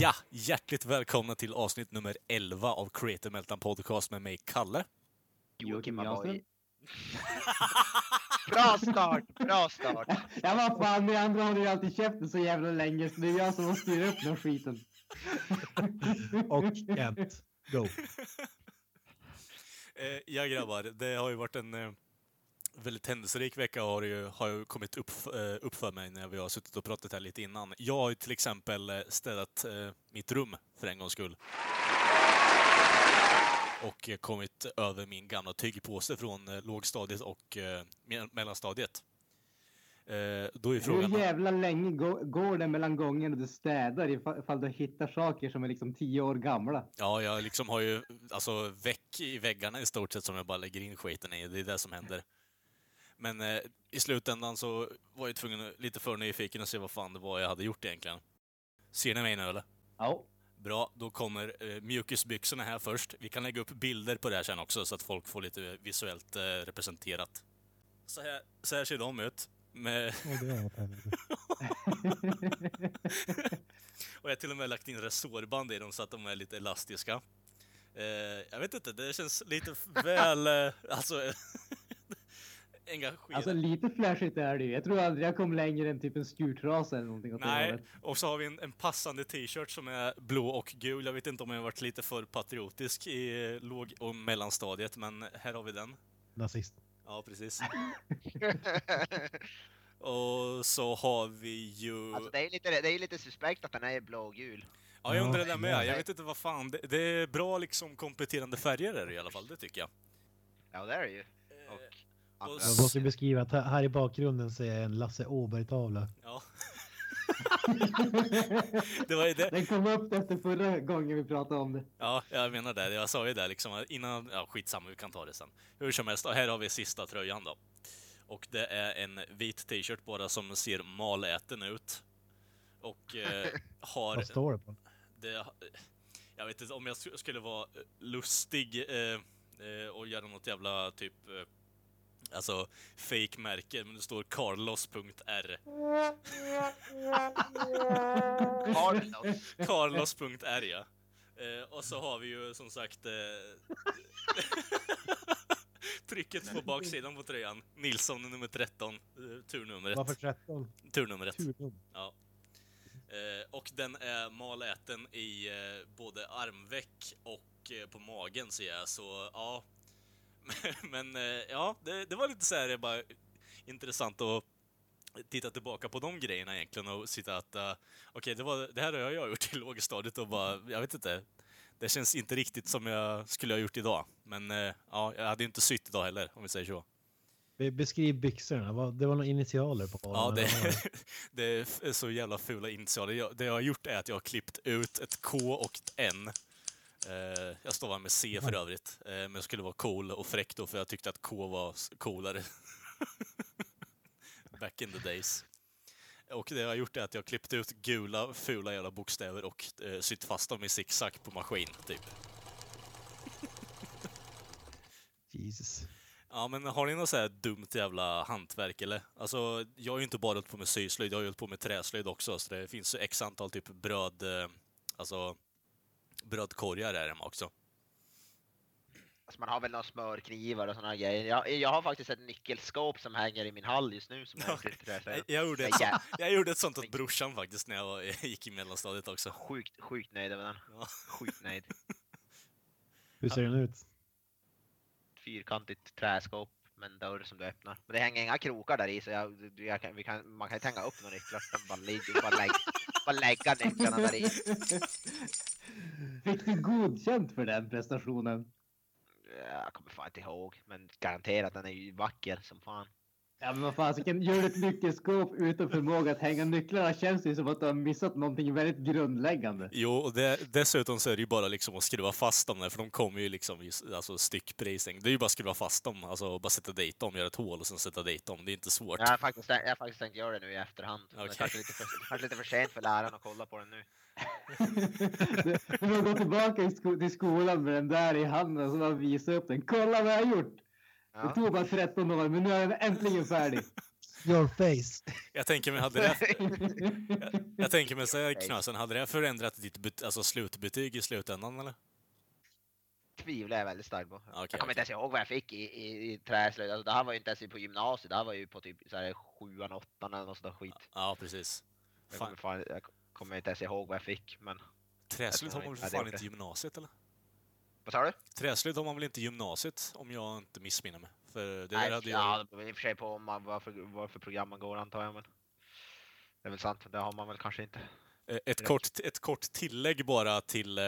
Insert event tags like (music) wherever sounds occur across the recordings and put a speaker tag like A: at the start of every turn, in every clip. A: Ja, hjärtligt välkomna till avsnitt nummer 11 av Creator Meltdown Podcast med mig, Kalle.
B: Joakim
C: Jansson.
B: Aboy. (laughs) Bra start! Bra start!
C: (laughs) Ja vad fan, ni andra håller ju alltid käften så jävla länge så det är jag som måste styra upp den skiten.
D: och Kent. Go.
A: Eh, ja, grabbar, det har ju varit en eh, väldigt händelserik vecka har det ju, har ju kommit upp, eh, upp för mig när vi har suttit och pratat här lite innan. Jag har ju till exempel eh, städat eh, mitt rum för en gångs skull. Och eh, kommit över min gamla tyggpåse från eh, lågstadiet och eh, me- mellanstadiet. Eh, då är ju frågan...
C: Hur jävla länge gå- går det mellan gångerna du städar ifa- ifall du hittar saker som är liksom tio år gamla?
A: Ja, jag liksom har ju alltså väck i väggarna i stort sett som jag bara lägger in skiten i. Det är det som händer. Men eh, i slutändan så var jag tvungen, att- lite för nyfiken att se vad fan det var jag hade gjort egentligen. Ser ni mig nu eller?
C: Ja.
A: Bra, då kommer eh, mjukisbyxorna här först. Vi kan lägga upp bilder på det här sen också så att folk får lite visuellt eh, representerat. Så här, så här ser de ut. Med,
D: Och det är något helvete.
A: (laughs) och jag har till och med lagt in resårband i dem så att de är lite elastiska. Eh, jag vet inte, det känns lite väl... Eh, alltså... (laughs) engagerat.
C: Alltså lite flashigt är det ju. Jag tror aldrig jag kom längre än typ en skurtrasa eller någonting åt det
A: Nej,
C: hållet.
A: och så har vi en, en passande t-shirt som är blå och gul. Jag vet inte om jag har varit lite för patriotisk i eh, låg och mellanstadiet, men här har vi den.
D: Nazist.
A: Ja, precis. och så har vi ju...
B: (laughs) Alltså det är ju lite, det är lite suspekt att den är blå och gul.
A: Ja, jag undrar det med. Jag
B: nej.
A: vet inte vad fan. Det, det är bra liksom kompletterande färger är det i alla fall, det tycker jag.
B: Ja det är det ju. Och,
A: Eh, och
B: andra.
D: Jag måste beskriva att här här i bakgrunden ser jag en Lasse Åberg-tavla.
A: Ja. det var ju det.
C: Den kom upp efter förra gången vi pratade om det.
A: Ja, jag menar det. Jag sa ju det liksom innan. Ja, skitsamma, vi kan ta det sen. Hur som helst, och här har vi sista tröjan då. Och det är en vit t-shirt bara som ser maläten ut. Och eh, har...
D: Vad står det på?
A: Det, jag vet inte om jag sk- skulle vara eh, lustig eh, eh, och göra något jävla typ... Eh, alltså, fake märke men det står Carlos.r.
B: (laughs) Har du något?
A: Carlos.r ja. Eh, och så har vi ju som sagt eh, (laughs) trycket på baksidan på tröjan. Nilsson är nummer 13, eh, turnumret.
D: Varför 13?
A: Turnumret.
D: Turen.
A: Ja. Eh, och den är maläten i eh, både armveck och eh, på magen ser jag, så ja. (laughs) Men eh, ja, det, det var lite så här eh, bara intressant att titta tillbaka på de grejerna egentligen och sitta att eh, okej, det var det här har jag gjort i lågstadiet och bara, jag vet inte. Det känns inte riktigt som jag skulle ha gjort idag. Men eh, ja, jag hade ju inte sytt idag heller, om vi säger så.
D: Be- Beskriv byxorna. Vad- Det var några initialer på dem.
A: Ja,
D: eller
A: det,
D: vad var
A: (laughs) det är f- så jävla fula initialer. Jag, det jag har gjort är att jag har klippt ut ett K och ett N. Eh, jag stavar med C för övrigt, eh, men jag skulle vara cool och fräck då, för jag tyckte att K var s- coolare. (laughs) Back in the days. Och det jag har gjort är att jag har klippt ut gula, fula jävla bokstäver och eh, sytt fast dem i zigzag på maskin, typ.
D: Jesus.
A: Ja, men har ni något så här dumt jävla hantverk eller? Alltså, jag har ju inte bara hållit på med syslöjd, jag har ju hållit på med träslöjd också, så det finns ju x antal typ bröd, eh, alltså brödkorgar där hemma också.
B: Alltså, man har väl några smörknivar och sådana grejer. Jag, jag har faktiskt ett nyckelskåp som hänger i min hall just nu som jag har klippt det
A: (laughs)
B: här för.
A: Jag, jag, gjorde ett,
B: Jag är jä-
A: jag gjorde ett sånt åt brorsan faktiskt när jag var- (laughs) gick i mellanstadiet också.
B: sjukt, sjukt nöjd över den.
A: Ja.
B: Sjukt nöjd.
D: Hur ser den ut?
B: Fyrkantigt träskåp med en dörr som du öppnar. Men det hänger inga krokar där i så jag, jag kan, vi kan, man kan inte hänga upp några nycklar. utan Bara, ligger- bara, lägg, bara lägga nycklarna där i.
C: (laughs) Fick du godkänt för den prestationen?
B: Ja, Jag kommer fan inte ihåg, men garanterat den är ju vacker som fan.
C: Ja men vad fan, så kan, gör du ett nyckelskåp utan förmåga att hänga nycklarna känns det ju som att du har missat någonting väldigt
D: (laughs)
C: grundläggande.
A: Jo, och det, dessutom så är det ju bara liksom att skruva fast dem där, för de kommer ju liksom i s- alltså styckprising. Det är ju bara att skruva fast dem, alltså bara sätta dit dem, göra ett hål och sen sätta dit dem. Det är inte svårt.
B: Jag har faktiskt, tänkt- jag har faktiskt tänkt göra det nu i efterhand. men
A: Okej.
B: Kanske, lite för, kanske lite för sent för läraren att kolla på den nu.
C: Du, du får gå tillbaka i sko, till skolan med den där i handen och så bara visa upp den. Kolla vad jag har gjort! Det
B: Ja.
C: tog bara 13 år men nu är den äntligen
D: (laughs)
C: färdig.
D: Your face.
A: Jag tänker mig, hade det, jag tänker mig så här, Knösen, hade det förändrat ditt bet- alltså slutbetyg i slutändan eller?
B: (laughs) Tvivlar jag väldigt starkt på.
A: okej,
B: jag kommer inte ens ihåg vad jag fick i, i, i träslöjd. Alltså, det här var ju inte ens på gymnasiet. Det här var ju på typ så här, sjuan, åttan eller något sånt där skit.
A: Ja, precis.
B: Jag kommer,
A: Fan,
B: fan, jag kommer inte ens ihåg vad jag fick. Men
A: träslöjd har man väl
B: Ja,
A: för
B: det är
A: fan
B: okej.
A: inte i gymnasiet eller?
B: vad sa du?
A: Träslöjd har man väl inte i gymnasiet, om jag inte missminner mig? För det där
B: Nej,
A: hade
B: ja,
A: jag...
B: det beror i och för sig på om man, vad, för, vad för program man går antar jag. Men det är väl sant. Det har man väl kanske inte.
A: Eh, Ett kort, ett kort tillägg bara till eh,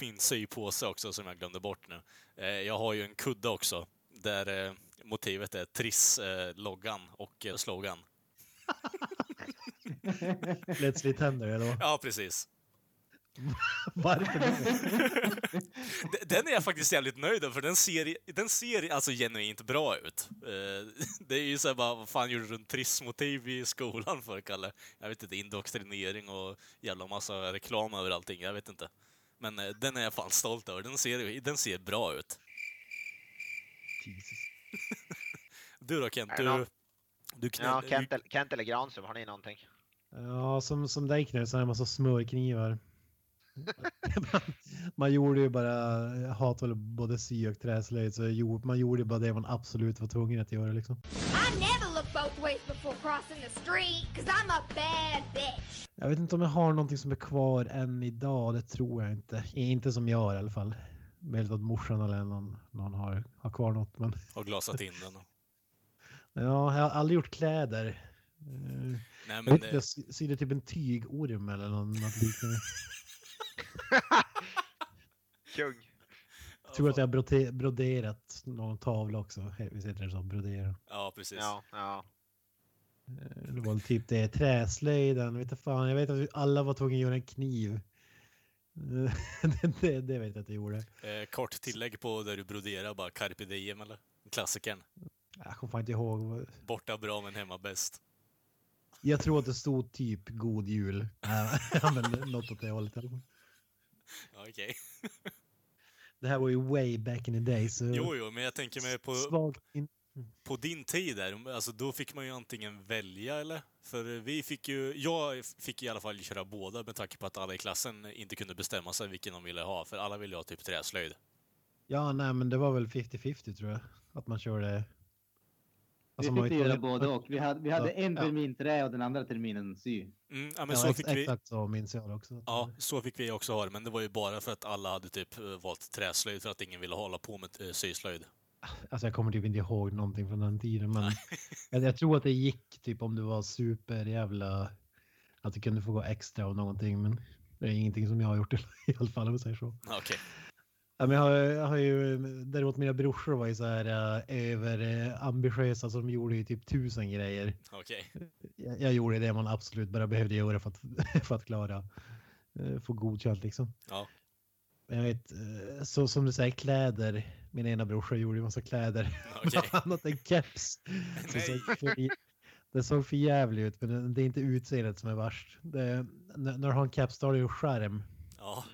A: min sypåse också som jag glömde bort nu. Eh, Jag har ju en kudde också där eh, motivet är Triss-loggan och eh, slogan.
D: Plötsligt händer det (laughs) då.
A: Ja, precis.
D: Varför då?
A: (laughs) D- Den är jag faktiskt jävligt nöjd över, för den ser, den ser alltså genuint bra ut. Eh, (laughs) Det är ju såhär bara, vad fan gjorde du en Triss-motiv i skolan för, Kalle? Jag vet inte, indoktrinering och jävla massa reklam över allting, jag vet inte. Men eh, den är jag fan stolt över, den ser, den ser bra ut.
D: Jesus.
A: Du då Kent,
B: Är det
A: du...
B: någon-
A: Du knä...
B: Ja, Kent, el- Kent eller Granström, har ni någonting?
D: Ja, som, som dig Knut så har jag en massa smörknivar. (laughs) man, man gjorde ju bara, jag hatar väl både sy och träslöjd, så jag gjorde, man gjorde ju bara det man absolut var tvungen att göra liksom.
E: I never look both ways before crossing the street, cause I'm a bad bitch.
D: Jag vet inte om jag har någonting som är kvar än idag, det tror jag inte. Inte som jag har i alla fall. Möjligt att morsan eller någon, någon har, har kvar något, men
A: har glasat in den.
D: ja, jag har aldrig gjort kläder. Eh,
A: Nej men
D: Jag, vet, inte,
A: det,
D: jag sy- sydde typ en tygorm eller någon- något liknande.
B: Kung.
D: Jag tror att jag har brode- broderat någon tavla också. Visst heter det så? Brodera.
A: Ja, precis.
B: Ja, ja.
D: Eh, Det var väl typ det. Träslöjden. Vet du fan, jag vet att vi alla var tvungna att göra en kniv. (laughs) Eh, det, det, det vet jag att jag gjorde.
A: Eh, kort tillägg på där du broderar bara, carpe diem eller? Klassikern.
D: Jag kommer fan inte ihåg. vad-
A: Borta bra men hemma bäst.
D: Jag tror att det stod typ god jul. (laughs) Ja, men något åt det hållet. i alla fall.
A: Ja, Okej.
D: Det här var ju way back in the day. Så
A: Jo, jo, men jag tänker mig på,
D: svagt in-
A: på din tid där, alltså då fick man ju antingen välja eller? För vi fick ju, jag fick i alla fall köra båda med tanke på att alla i klassen inte kunde bestämma sig vilken de ville ha, för alla ville ha typ träslöjd.
D: Ja, nej, men det var väl 50-50 tror jag. Att man körde. Alltså,
C: vi
D: man var
C: fick
D: ju
C: göra
D: tvungen-
C: både och. Vi hade, vi hade en
D: Ja.
C: termin trä och den andra terminen
D: (laughs)
C: sy. (laughs)
A: Mm, ja, men
D: Ja,
A: så
D: ex-
A: fick vi,
D: Exakt så minns jag det också.
A: Ja, så fick vi också ha det, men det var ju bara för att alla hade typ eh, valt träslöjd för att ingen ville hålla på med eh, syslöjd. (laughs)
D: Alltså jag kommer typ inte ihåg någonting från den tiden, men (laughs) jag, jag tror att det gick typ om du var superjävla att du kunde få gå extra och någonting, men det är ingenting som jag har gjort i alla fall om jag säger så.
A: Ja, Okej.
D: Ja, men jag, har, jag har ju däremot mina brorsor var ju så här eh, överambitiösa så de gjorde ju typ tusen grejer. (laughs)
A: Okej.
D: Jag, jag gjorde det man absolut bara behövde göra för att, (laughs) för att klara eh, få godkänt liksom.
A: Ja.
D: Men jag vet, eh, så som du säger kläder. Min ena brorsa gjorde ju massa kläder. (laughs)
A: Okej.
D: Bland annat en keps. Så
A: Nej.
D: såg för, det såg för jävligt ut, men det- det är inte utseendet som är värst. Det, när när du har en keps då har du ju en skärm.
A: Ja.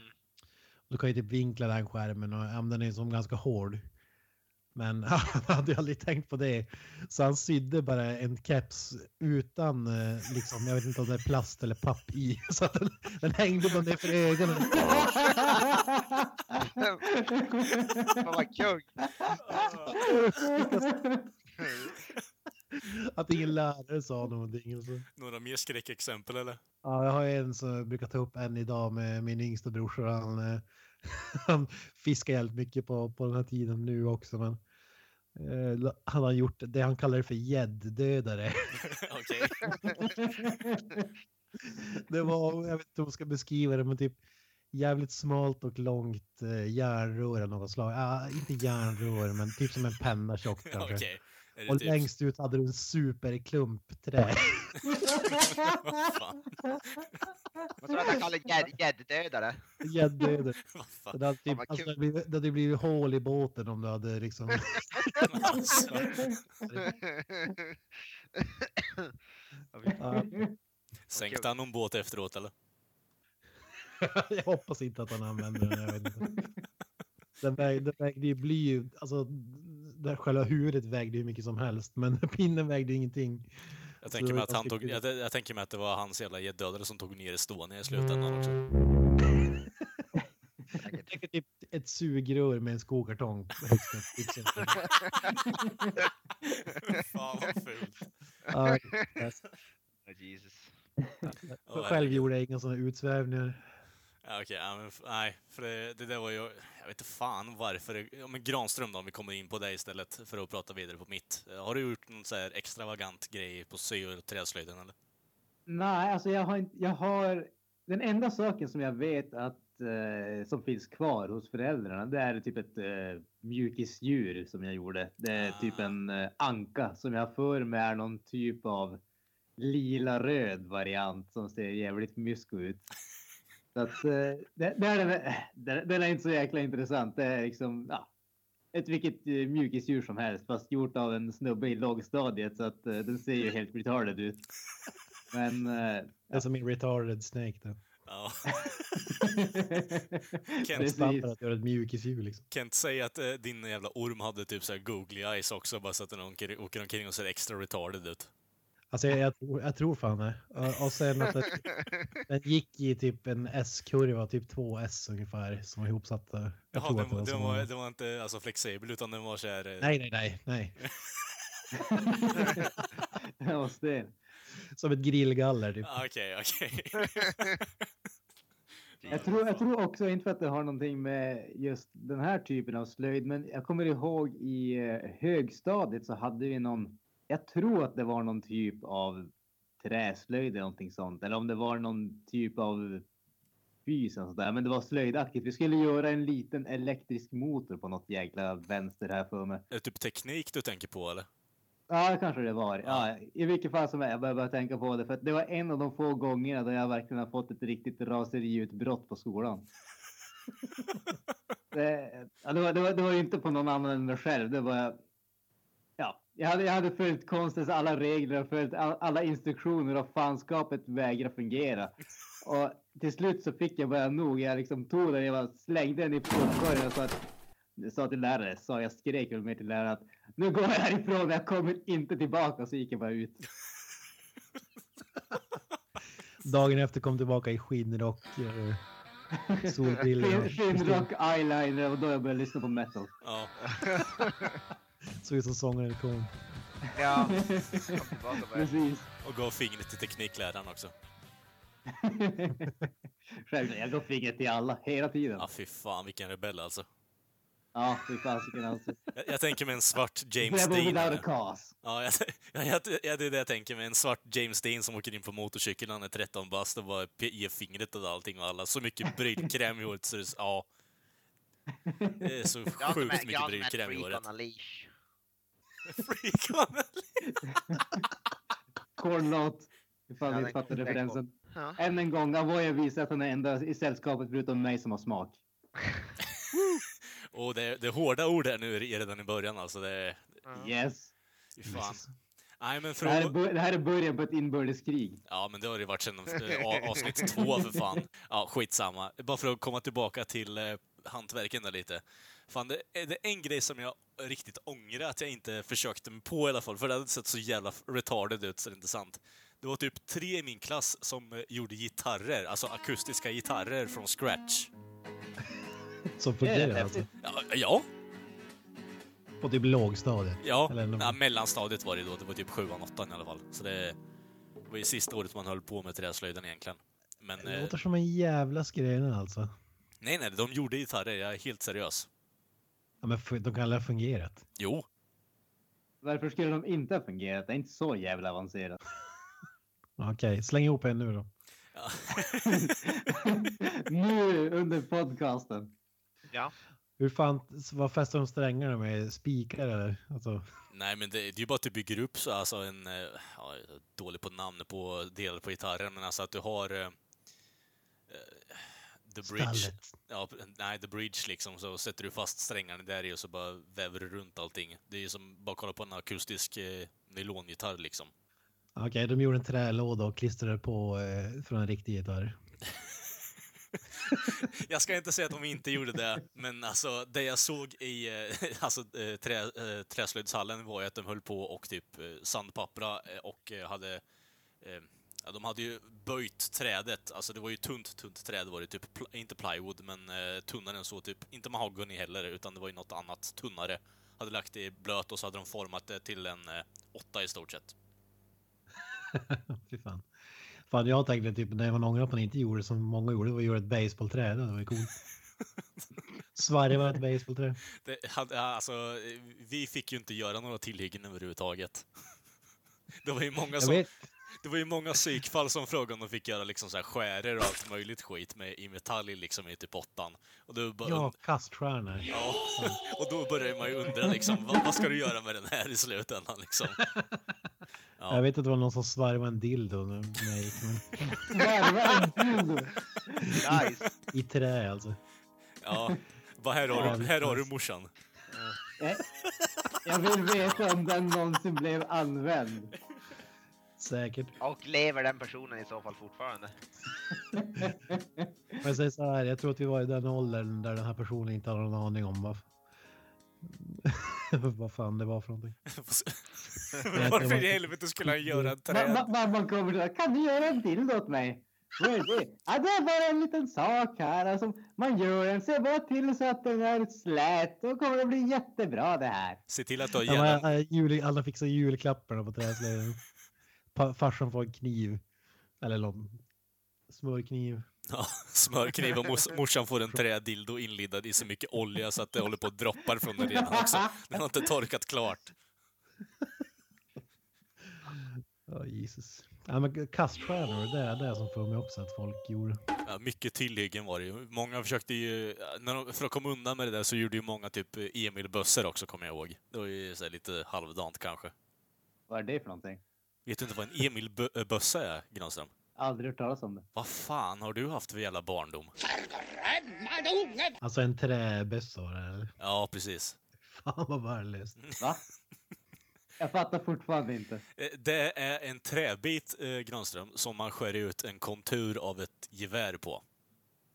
D: Du kan ju typ vinkla den skärmen och ja, men den är ju som ganska hård. Men (laughs) han hade ju aldrig tänkt på det. Så han sydde bara en keps utan, eh, liksom, jag vet inte om det är plast eller papp i. (laughs) Så att den, den hängde bara ner för ögonen. (laughs)
B: Fan
C: (laughs)
B: vad kung.
A: (laughs)
D: Att ingen lärare sa någonting. och så.
A: Några mer skräckexempel eller? (laughs)
D: Ja, jag har en som jag brukar ta upp en idag med min yngsta brorsa. Han, eh, (laughs) han fiskar jävligt mycket på, på den här tiden nu också. Men eh, han har gjort det han kallar för gäddödare.
A: Okej.
D: Det var, jag vet inte hur jag ska beskriva det, men typ jävligt smalt och
A: (laughs)
D: långt eh, järnrör av något slag. Ah, inte järnrör, men typ som en penna tjockt kanske.
A: Okej. Är det
D: Och
A: typ-
D: längst ut hade du en superklump (laughs) trä.
A: (laughs) Vad fan?
B: Vad tror du att jag kallar gädd- gäddödare?
A: (laughs)
B: (laughs)
D: Gäddöder.
A: Vad fan?
D: Det hade typ,
B: vad
D: alltså,
B: kul.
D: det hade blivit- det hade blivit hål i båten om du hade liksom...
A: (laughs) Alltså,
B: Ja, vi-
D: Ja,
A: Sänkte han någon båt efteråt eller?
D: jag hoppas inte att han använder den. Jag vet inte. Den, väg, den vägde ju bly, alltså där själva huvudet vägde ju mycket som helst, men (laughs) pinnen vägde ju ingenting.
A: Jag tänker mig att han tog, jag,
D: Jag,
A: jag tänker mig att det var hans jävla gäddödare som tog ner Estonia i slutändan
D: Mm.
A: också.
D: jag tänker typ ett sugrör med en skokartong. högst upp, typ så.
A: (laughs) Fan vad fult.
D: Ja, yes.
B: (laughs) Ja, Jesus.
A: Åh,
D: Själv gjorde jag inga sådana utsvävningar.
A: Ja, okej, ja, men f- nej, för det, det där var ju... Jag vet inte fan varför. det- Ja, men Granström då, om vi kommer in på dig istället för att prata vidare på mitt. Eh, Har du gjort någon så här extravagant grej på sy och träslöjden eller?
C: Nej, alltså jag har, inte- jag har... Den enda saken som jag vet att eh, som finns kvar hos föräldrarna det är typ ett eh, mjukisdjur som jag gjorde. Det är typ
A: Ah.
C: en eh, anka som jag för mig är någon typ av lila-röd variant som ser jävligt mysko ut. Så att, eh, det, det är, den- det- den är inte så jäkla intressant. Det är liksom ja, ett vilket eh, mjukisdjur som helst fast gjort av en snubbe i lågstadiet så att eh, den ser ju helt retarded ut. Men... eh,
D: Det är som min retarded snake. Då.
A: Ja. (laughs)
C: Precis.
D: Stampar
C: (laughs)
D: att göra ett mjukisdjur liksom.
A: Kan inte säga att eh, din jävla orm hade typ så här googly eyes också, bara så att den åker, åker omkring och ser extra retarded ut.
D: Alltså jag, jag, tror, jag tror fan det. Och- Och sen att det, den gick i typ en S-kurva, typ två S ungefär, som var ihopsatta. Jag
A: Jaha,
D: tror
A: den, den,
D: att det var så.
A: var, den var inte alltså flexibel, utan den var så här... eh,
D: Nej, nej, nej, nej.
C: Jag måste det.
D: Som ett grillgaller typ.
A: ah, Okej, okej.
C: (laughs) Jag tror, jag tror också, inte för att det har någonting med just den här typen av slöjd, men jag kommer ihåg i eh, högstadiet så hade vi någon, jag tror att det var någon typ av träslöjd eller någonting sånt, eller om det var någon typ av fys eller sånt där, men det var slöjdaktigt. Vi skulle göra en liten elektrisk motor på något jäkla vänster här för mig.
A: Är det typ teknik du tänker på
B: (laughs)
A: eller?
C: Ja, det kanske det var. Ja, I vilket fall som är, jag börjar bara tänka på det. För att det var en av de få gångerna då jag verkligen har fått ett riktigt raseriutbrott på skolan. det, ja, det, var, det, var, det var ju inte på någon annan än mig själv. Det var, ja, jag, hade, jag hade följt konstens alla regler och följt all, alla instruktioner och fanskapet vägrade fungera. Och till slut så fick jag bara nog. Jag liksom tog den, jag bara slängde den i popcornen och sa, att, sa till läraren, sa jag skrek väl mer till läraren att nu går jag härifrån, jag kommer inte tillbaka. Så gick jag bara ut.
D: Dagen efter kom tillbaka i skinnrock, eh,
C: (laughs) Fin-
D: solbrillor och
C: Finrock, eyeliner och då jag började lyssna på metal.
A: Ja.
D: såg ut som sångaren i Korn.
B: Ja, kom tillbaka på det.
C: Precis. (laughs)
A: Och gav fingret till teknikläraren också.
C: Självklart, jag går fingret till alla hela tiden.
A: Ja, fy fan vilken rebell alltså.
C: Ja, fy fasiken alltså.
A: Jag, jag tänker mig en svart James
C: Rebel
A: Dean.
C: without a
A: här.
C: cause.
A: Ja, jag, (laughs) jag, jag, ja, det är det jag tänker mig. En svart James Dean som åker in på motorcykeln, han är 13 bast och bara pe- ger fingret åt allting och alla. Så mycket brylkräm i håret så det, är- ja. Det är så
B: (laughs) Jag som är-
A: sjukt mycket
B: jag som är
A: brylkräm i
B: freak
A: håret.
B: on a leash.
A: (laughs) Freak on a-
C: Cornlot. Ifall
B: Ja,
C: ni
B: den-
C: fattar
B: den
C: referensen.
B: Ja.
C: Än en gång, Avoya visar att han är enda i sällskapet förutom mig som har smak.
A: Och det, det är hårda ord här nu är redan i början alltså. Det är...
B: Ja.
C: Yes.
A: fy Fan. Nej men
C: Det här, är
A: från...
C: bör- det här är början på ett inbördeskrig.
A: Ja men det har det varit sedan eh, a- avsnitt två för fan. Ja, skitsamma. Bara för att komma tillbaka till eh, hantverken där lite. Fan, det är det är en grej som jag riktigt ångrar att jag inte försökte mig på i alla fall, för det hade sett så jävla retarded ut så det är inte sant. Det var typ tre i min klass som eh, gjorde gitarrer, alltså akustiska gitarrer från scratch.
D: Som
C: Det är rätt
D: fungerar alltså.
A: Ja, ja,
D: På typ lågstadiet.
A: Ja,
D: Eller ändå-
A: ja mellanstadiet var det då. Det var typ sjuan, åttan i alla fall. Så det var ju sista året man höll på med träslöjden egentligen. Men
D: Det
A: eh,
D: låter som en jävla skröna alltså.
A: nej, nej, de gjorde gitarrer. Jag är helt seriös.
D: Ja, men f- de kan aldrig ha fungerat.
A: Jo,
C: Varför skulle de inte ha fungerat? Det är inte så
A: (laughs)
C: jävla avancerat. (laughs)
D: Okej, släng ihop en nu då.
C: nu under podcasten.
B: Ja.
D: Hur fan, vad fäster de strängarna med? Spikar eller? Alltså,
A: Nej, men det, det är ju bara att du bygger upp så, alltså en, eh, ja, jag är dålig på namn på delar på gitarren, men alltså att du har eh, eh, The Bridge.
D: stallet.
A: Ja, p- nej, The Bridge liksom, så sätter du fast strängarna där i och så bara väver du runt allting. Det är ju som bara kolla på en akustisk eh, nylongitarr liksom.
D: Okej, de gjorde en trälåda och klistrade på eh, från en riktig gitarr. (laughs)
A: (laughs) Jag ska inte säga att de inte gjorde det, men alltså det jag såg i eh, (laughs) alltså, eh, trä, eh, träslöjdshallen var ju att de höll på och typ eh, sandpappra eh, och eh, hade... Eh, ja, de hade ju böjt trädet, alltså det var ju tunt, tunt träd var det typ, pl- inte plywood, men eh, tunnare än så, typ, inte mahogany heller, utan det var ju något annat tunnare. Hade lagt det i blöt och så hade de format det till en eh, åtta i stort sett.
D: Fy fan. Fan, jag tänkte typ när man ångrar att man inte gjorde som många gjorde, det var att göra ett basebollträ. Det var
A: (laughs)
D: ju coolt. Svarva ett basebollträ.
A: Det, hade, ja, alltså, eh, vi fick ju inte göra några tillhyggen överhuvudtaget. (laughs) Det var ju många
D: Jag
A: som
D: vet,
A: Det var ju många psykfall som frågade om de fick göra liksom så här skärer och allt möjligt skit med, i metall i liksom i typ åttan. Och då, bara,
D: ja, kaststjärnor.
A: ja, och då börjar man ju undra liksom, vad, vad ska du göra med den här i slutändan
D: (laughs)
A: liksom? Ja.
D: Jag vet att det var någon som svarvade en dildo när när jag gick, men
B: Nice!
D: i trä alltså.
A: Ja, vad här har du, här har du morsan. (laughs)
C: Jag- Jag vill veta om den någonsin blev använd.
D: Säkert.
B: Och lever den personen i så fall fortfarande?
D: Men jag säger så här, jag tror att vi var i den åldern där den här personen inte hade någon aning om vad, (laughs) vad fan det var för någonting.
A: Varför i helvete skulle han göra en
C: Ma-
A: träd?
C: ma- Mamman kommer och säger, kan du göra en bild åt mig? Vad är det? Ja, det är bara en liten sak här. Alltså, man gör den, ser bara till så att den är slät. Då kommer det bli jättebra det här.
A: Se till att du har
D: Ja, men,
A: hjärnan.
D: eh, jul, alla fixar julklapparna på träslöjden. Pa- Farsan får en kniv. Eller någon smörkniv.
A: Ja, smörkniv och mors, morsan får en trädildo inlindad i så mycket olja så att det håller på att droppar från den redan också. Den har inte torkat klart.
D: Ja, Jesus. Ja, men kaststjärnor, det är det som får mig också att folk gjorde.
A: Ja, mycket tillhyggen var det ju. Många försökte ju, när de, för att komma undan med det där så gjorde ju många typ Emil-bössor också kommer jag ihåg. Det var ju så här lite halvdant kanske.
C: (laughs) Vad är det för någonting?
A: Vet du inte vad en Emil-bössa är, Granström?
C: Aldrig hört talas om det.
A: Vad fan har du haft för jävla barndom?
D: Alltså en träbössa var det, eller?
A: Ja, precis.
D: (laughs) Fan vad värdelöst.
C: Va? Jag fattar fortfarande inte.
A: Eh, Det är en träbit, eh, Granström, som man skär ut en kontur av ett gevär på.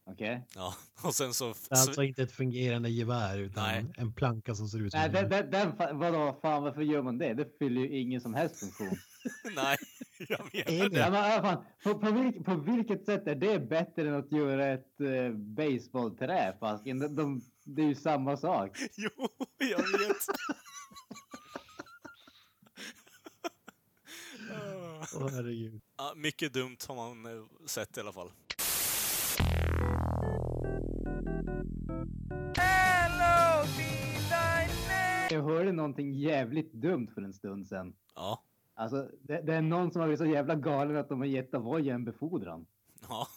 C: Okej.
A: Ja, (laughs) och sen så...
D: Det är alltså inte ett fungerande gevär utan
A: Nej.
D: en planka som ser ut som
C: Nej, den,
D: en-
C: den, den, fa- vadå, fan varför gör man det? Det fyller ju ingen som helst funktion.
A: (laughs) Nej, jag menar det.
D: Är det?
C: Ja, men, vad fan, på, på, vilk, på vilket sätt är det bättre än att göra ett eh, baseballträ? Fasken? De, de, det är ju samma sak.
A: (laughs) Jo, jag
D: (laughs)
A: vet. Ah.
D: Åh, herregud.
A: Ja, mycket dumt har man eh, sett i alla fall.
C: Jag hörde någonting jävligt dumt för en stund sedan.
A: Ja.
C: Alltså, det, det är någon som har blivit så jävla galen att de har gett Avoya en befordran.
A: Ja.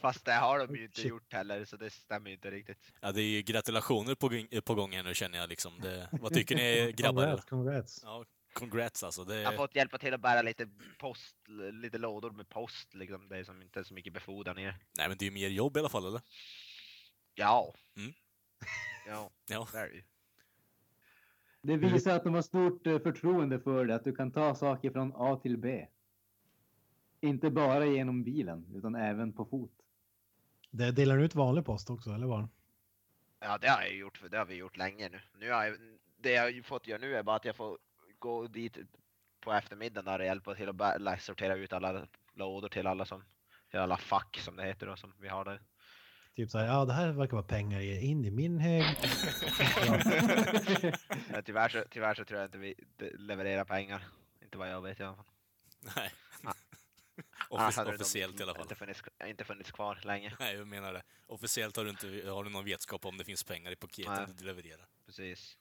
B: Fast det har de ju inte
D: Shit.
B: gjort heller, så det stämmer ju inte riktigt.
A: ja, det är ju gratulationer på, gång- eh, på gång här nu känner jag liksom. Det, vad tycker (laughs)
D: (laughs)
A: ni grabbar?
D: Congrats, congrats.
A: Ja, congrats alltså. Det,
B: Jag har fått hjälpa till att bära lite post, lite lådor med post liksom. Det är som inte så mycket befordran i det.
A: Nej men det är ju mer jobb i alla fall eller?
B: Ja.
A: Mm.
B: Ja,
A: Ja. (laughs)
B: det är det ju.
C: Det visar att de har stort eh, förtroende för dig, att du kan ta saker från A till B. Inte bara genom bilen, utan även på fot.
D: Det delar du ut vanlig post också, eller var?
B: Ja, det har jag ju gjort, för det har vi gjort länge nu. nu har jag, det jag har ju fått göra nu är bara att jag får gå dit på eftermiddagen där och hjälpa till att bä- sortera ut alla lådor till alla som, till alla fack som det heter då, som vi har där.
D: Typ så här, ja det här verkar vara pengar i, in i min hög.
A: (laughs)
D: ja,
B: Men tyvärr, så, tyvärr så tror jag inte vi de- levererar pengar. Inte vad jag vet i alla fall.
A: Nej.
B: Ah. Annars
A: (laughs) Offic-
B: (laughs) hade de
A: officiellt i alla fall.
B: Inte funnits, inte funnits kvar länge.
A: Nej, jag menar det. Officiellt har du inte har du någon vetskap om det finns pengar i
B: Nej.
A: paketen du levererar.
B: Precis.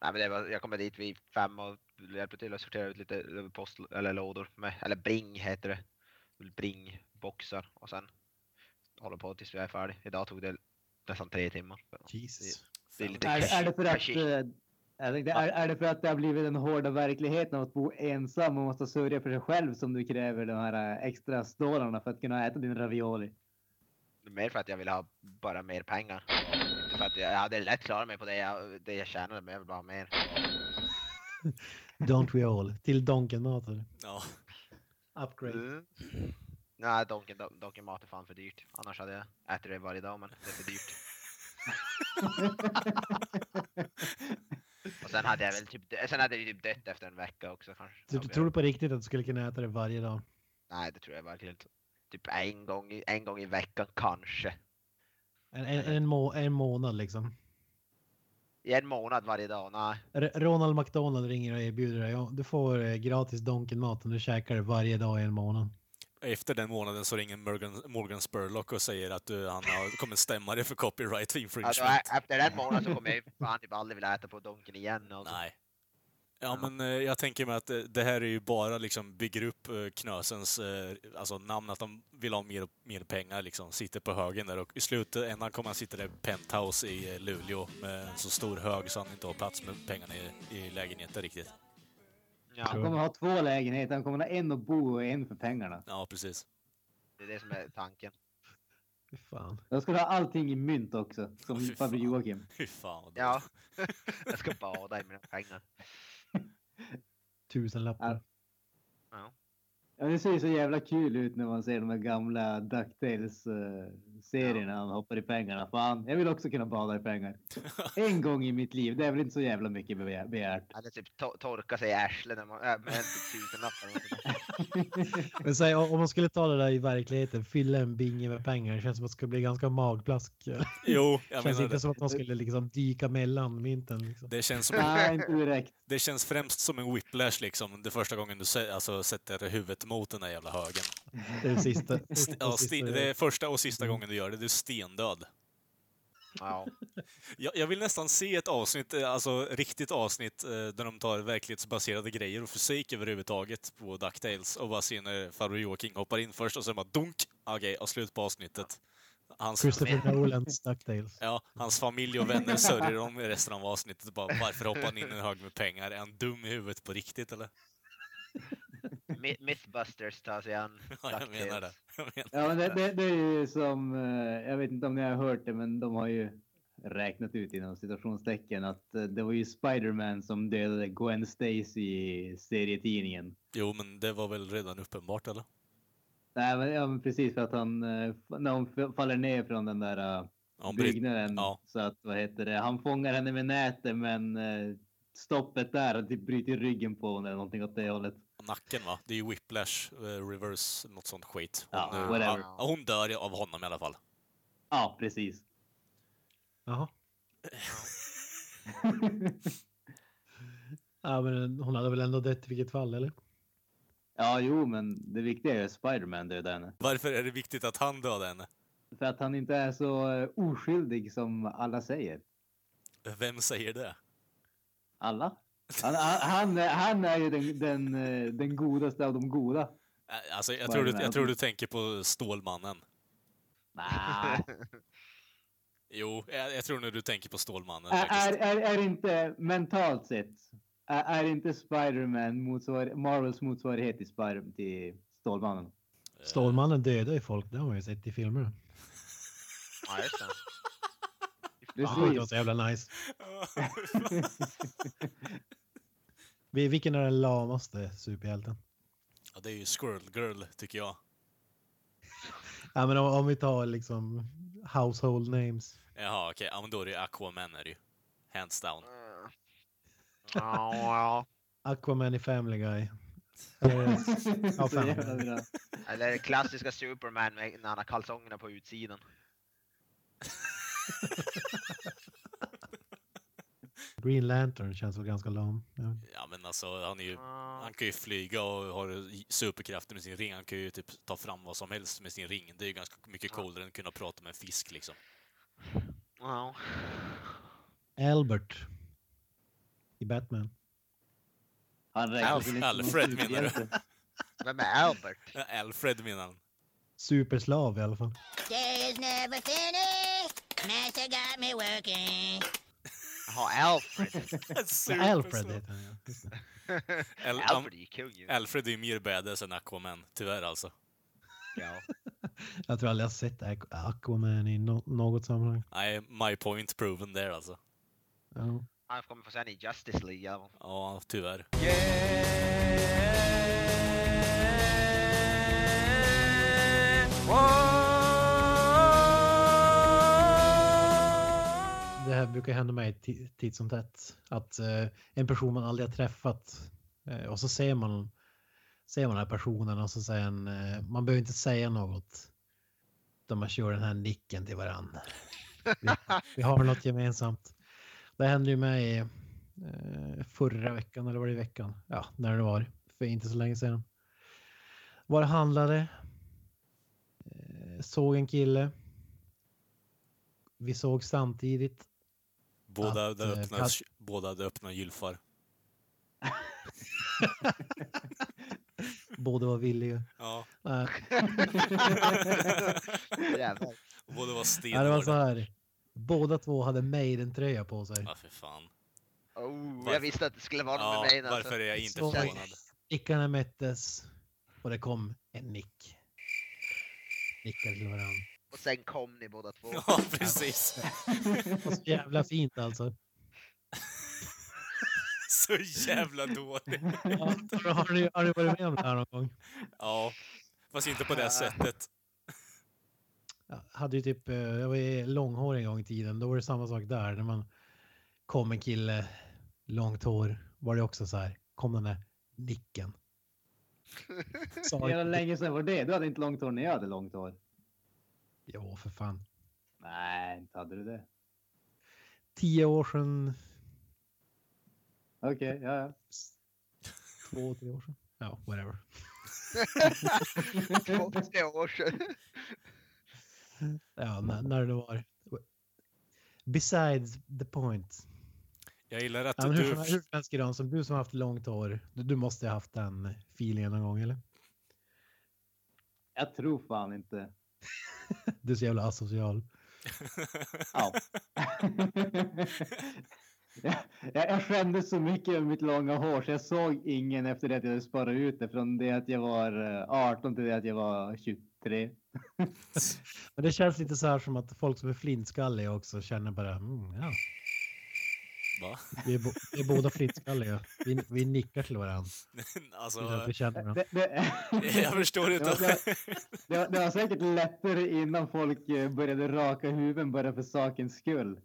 B: Nej, men det var, jag kommer dit vid fem och hjälper till att sortera ut lite post eller lådor med, eller bring heter det. Bringboxar och sen håller på tills vi är färdiga. Idag tog det nästan tre timmar.
D: Jesus.
B: Det är lite
C: Är, är, det för att,
B: Kanske-
C: eh, jag tänkte, är, är det för att det har blivit den hårda verkligheten av att bo ensam och måste sörja för sig själv som du kräver de här eh, extra stålarna för att kunna äta din ravioli?
B: Mer för att jag vill ha bara mer pengar. Inte För att jag jag hade lätt klarat mig på det jag, det jag tjänade, men jag vill bara ha mer.
D: Don't we all? Till Donken-maten.
A: Ja.
D: Upgrade.
B: Mm. Nej, Donken, donken mat är fan för dyrt. Annars hade jag ätit det varje dag, men det är
D: (laughs)
B: för dyrt. Och sen hade jag väl typ, dö- sen hade jag typ dött efter en vecka också kanske.
D: Du,
B: Om
D: du
B: jag-
D: tror du på riktigt att du skulle kunna äta det varje dag?
B: Nej, det tror jag verkligen inte. Typ en gång, i- en gång i veckan kanske.
D: En, en, en, må, en månad liksom?
B: I en månad varje dag, nej.
D: R- Ronald McDonald ringer och erbjuder dig. "Ja, Du får eh, gratis Donken-mat om du käkar det varje dag i en månad.
A: Efter den månaden så ringer Morgan, Morgan Spurlock och säger att du, han har, kommer stämma dig för copyright
B: Alltså,
A: infringement.
B: ä- efter en månad så kommer jag ju fan typ aldrig vilja äta på Donken igen. Alltså.
A: Nej. Ja, men eh, jag tänker mig att eh, det här är ju bara liksom bygger upp eh, Knösens eh, alltså namn, att de vill ha mer, mer pengar liksom. Sitter på högen där och i slutändan kommer han sitta där i penthouse i eh, Luleå med en så stor hög så han inte har plats med pengarna i, i lägenheten riktigt.
B: Ja,
C: Han kommer ha två lägenheter. Han kommer ha en att bo och en för pengarna.
A: Ja, precis.
B: det är det som är tanken.
D: Fy Fan.
C: Då ska du ha allting i mynt också. Som
A: Åh, fy fan.
C: farbror Joakim.
A: (laughs) Fy fan vad
B: Ja, (laughs) jag ska bada i mina pengar.
D: Tusenlappar.
B: Ja.
C: Ja, det ser ju så jävla kul ut när man ser de här gamla Ducktails-serierna. Han hoppar i pengarna. Fan, jag vill också kunna bada i pengar. En gång i mitt liv. Det är väl inte så jävla mycket begär-
B: (laughs)
C: begärt.
B: Eller typ to- torka sig i arslet när man, äh, med en typ tusenlapp. eller
A: (laughs)
B: någonting.
D: Men säg, om om man skulle ta det där i verkligheten, fylla en binge med pengar, det känns som att det skulle bli ganska magplask. (laughs) Det
A: Jo, jag
D: känns
A: menar
D: inte
A: det.
D: som att man skulle liksom dyka mellan mynten. Liksom.
A: Det känns, som en,
C: Nej, inte direkt.
A: det känns främst som en whiplash liksom, det första gången du sä- alltså, sätter huvudet mot den där jävla högen.
D: Det är det sista. sista,
A: (laughs) Ja, Mm.
D: sista
A: sti-
D: jag-
A: det är första och sista gången du gör det, du är stendöd.
B: Ja.
A: Jag, jag vill nästan se ett avsnitt, eh, alltså riktigt avsnitt, eh, där de tar verklighetsbaserade grejer och fysik överhuvudtaget på DuckTales och bara se när farbror Joakim hoppar in först och sen bara dunk! Okej, och slut på avsnittet. Hans,
D: Christopher
A: (laughs)
D: Nolans Ducktails.
A: ja, hans familj och vänner sörjer dem i resten av avsnittet. Bara, varför hoppar han in i en hög med pengar? Är han dum i huvudet på riktigt eller?
B: Mi- Mythbusters tar sig an.
A: (laughs) Ja, jag
B: DuckTales. (laughs)
A: menar det. Jag menar.
C: Ja, men det, det, det är ju som, eh, jag vet inte om ni har hört det, men de har ju räknat ut inom citationstecken att eh, det var ju Spider-Man som dödade Gwen Stacy i serietidningen.
A: Jo, men det var väl redan uppenbart eller?
C: Nej, men, ja, men precis för att han, eh, f- när hon f- faller ner från den där eh,
A: Ja, Britt-
C: byggnaden.
A: ja.
C: Så att, vad heter det, han fångar henne med nätet men eh, stoppet där, han typ bryter ryggen på henne eller någonting åt det hållet.
A: nacken va? Det är ju whiplash, eh, reverse, något sånt skit. Hon,
C: Ja,
A: eh,
C: whatever.
A: ja, hon dör av honom i alla fall.
C: Ja, precis. (laughs)
D: Jaha. Ja, men hon hade väl ändå dött i vilket fall,
A: Eh.
D: eller?
C: Ja, jo, men det viktiga är ju att Spider-Man dödar henne.
A: Varför är det viktigt att han dödar henne?
C: För att han inte är så eh, oskyldig som alla säger.
A: Vem säger det?
C: Alla? Han, han, han, är- han är ju den, den, eh, den godaste av de goda.
A: Eh, Alltså, jag,
C: Vad
A: tror
C: är
A: du,
C: det med?
A: jag tror du tänker på Stålmannen.
C: Nej.
A: Jo, jag, jag tror nu du tänker på Stålmannen
C: Är,
A: faktiskt.
C: är, är inte mentalt sett, är, är inte Spider-Man motsvar, Marvels motsvarighet till, Spider till Stålmannen?
A: Eh,
D: Stålmannen dödar ju folk, det har man ju sett i filmerna.
B: Ja, just det.
D: Ja, det var
C: Precis. (laughs)
D: så jävla nice. Vi- Vilken är den lamaste superhjälten?
A: (laughs) ja, det är ju Squirrel Girl, tycker jag.
D: Ja, men om, om vi tar liksom household names.
A: Jaha, okej. Ja, men då är det ju Aquaman är det ju. Hands down.
B: Mm. Ja, ja.
D: Aquaman i Family Guy. Eh, Ja,
C: Så
D: fan.
C: jävla bra.
B: Eller det klassiska Superman med- när han har kalsongerna på utsidan.
D: Green Lantern känns väl ganska lam. Ja.
A: Ja, men alltså, han är ju...
B: Ja.
A: Han kan ju flyga och har superkrafter med sin ring. Han kan ju typ ta fram vad som helst med sin ring. Det är ju ganska mycket coolare än att kunna prata med en fisk liksom.
B: Ja.
D: Albert. I Batman.
C: Han räknas väl inte som
A: Alfred,
C: en
A: menar du?
C: superhjälte.
B: Vem är Albert?
A: Eh, (laughs) Alfred menar han.
D: Superslav i alla fall.
E: Day's never finished.
F: Master got me working.
B: Jaha, Alfred.
A: (laughs)
D: Alfred heter han ja. Just det.
A: Al-
B: Alfred är ju kung ju.
A: Alfred är ju mer badass än Aquaman, tyvärr alltså.
B: Ja.
D: Jag tror aldrig jag sett Aqu- Aquaman i no- något sammanhang.
A: Nej, my point proven there alltså.
D: Ja.
B: Han kommer få se han i Justice League.
A: (laughs)
B: Ja.
A: Ja, tyvärr.
D: Det här brukar hända mig ti- titt som tätt. Att eh, en person man aldrig har träffat eh, och så ser man, ser man den här personen och så säger en, eh, man behöver inte säga något. Utan man kör den här nicken till varandra. Vi, vi har något gemensamt. Det hände ju mig eh, förra veckan eller var det i veckan? Ja, när det var. För inte så länge sedan. Var det handlade. Eh, såg en kille. Vi såg samtidigt.
A: Båda
D: Att,
A: hade
D: eh,
A: öppna,
D: Pat-
A: båda hade öppna gylfar.
D: Båda var Eh, villiga.
B: (laughs)
A: Ja.
D: Nej,
B: Jävlar.
A: Och båda var
D: nej, det var så
A: stenhårda.
D: här. Båda två hade Maiden-tröja på sig.
A: Ja, för fan.
B: Oh,
A: Varför-
B: jag visste att det skulle vara någon
A: Ja,
B: med mig. Alltså.
A: varför är jag inte
D: Så-
B: (laughs)
A: förvånad?
D: Blickarna mättes och det kom en nick. Nickade till varandra.
B: Och sen kom ni
A: (laughs)
B: båda två.
A: Ja, precis.
D: Och Så jävla fint alltså.
A: Så jävla dåligt.
D: Ja, har, ni, har ni varit med om det här någon gång?
A: Ja, fast inte på det
B: Ja.
A: sättet.
D: Jag, hade ju typ, eh, jag var ju långhårig en gång i tiden. Då var det samma sak där. När man kom en kille, långt hår, var det också så här. Kom den där nicken. Sa
C: Hur jävla
D: inte,
C: länge sedan var det? Du hade inte långt hår när jag hade långt hår.
D: jo för fan.
C: Nej, inte hade du det.
D: Tio år sedan,
C: Okej, ja, ja.
D: två, tre år sedan. Ja, whatever.
C: (laughs)
B: Två, tre år sedan.
D: Ja, när, när det var. Besides the point.
A: Jag gillar att
D: Ja, men hur,
A: du...
D: som- hur som helst Gran, som du som har haft långt hår, du, du måste ha haft den feelingen någon gång eller?
C: Jag tror fan inte.
D: Du är så jävla asocial.
C: Ja. (laughs) jag, jag jag skämdes så mycket över mitt långa hår så jag såg ingen efter det att jag hade sparat ut det från det att jag var eh, 18 till det att jag var 23.
D: Men det känns lite så här som att folk som är flintskalliga också känner bara, mm, ja,
A: Va? (laughs)
D: vi är, bo- vi är båda flintskalliga. Vi, vi nickar till varandra. Det är
A: Alltså,
D: därför vi känner varandra.
C: Det, det, (laughs)
A: jag förstår
C: det,
A: inte.
C: var, det, var, det var säkert lättare innan folk eh, började raka huvuden bara för sakens skull.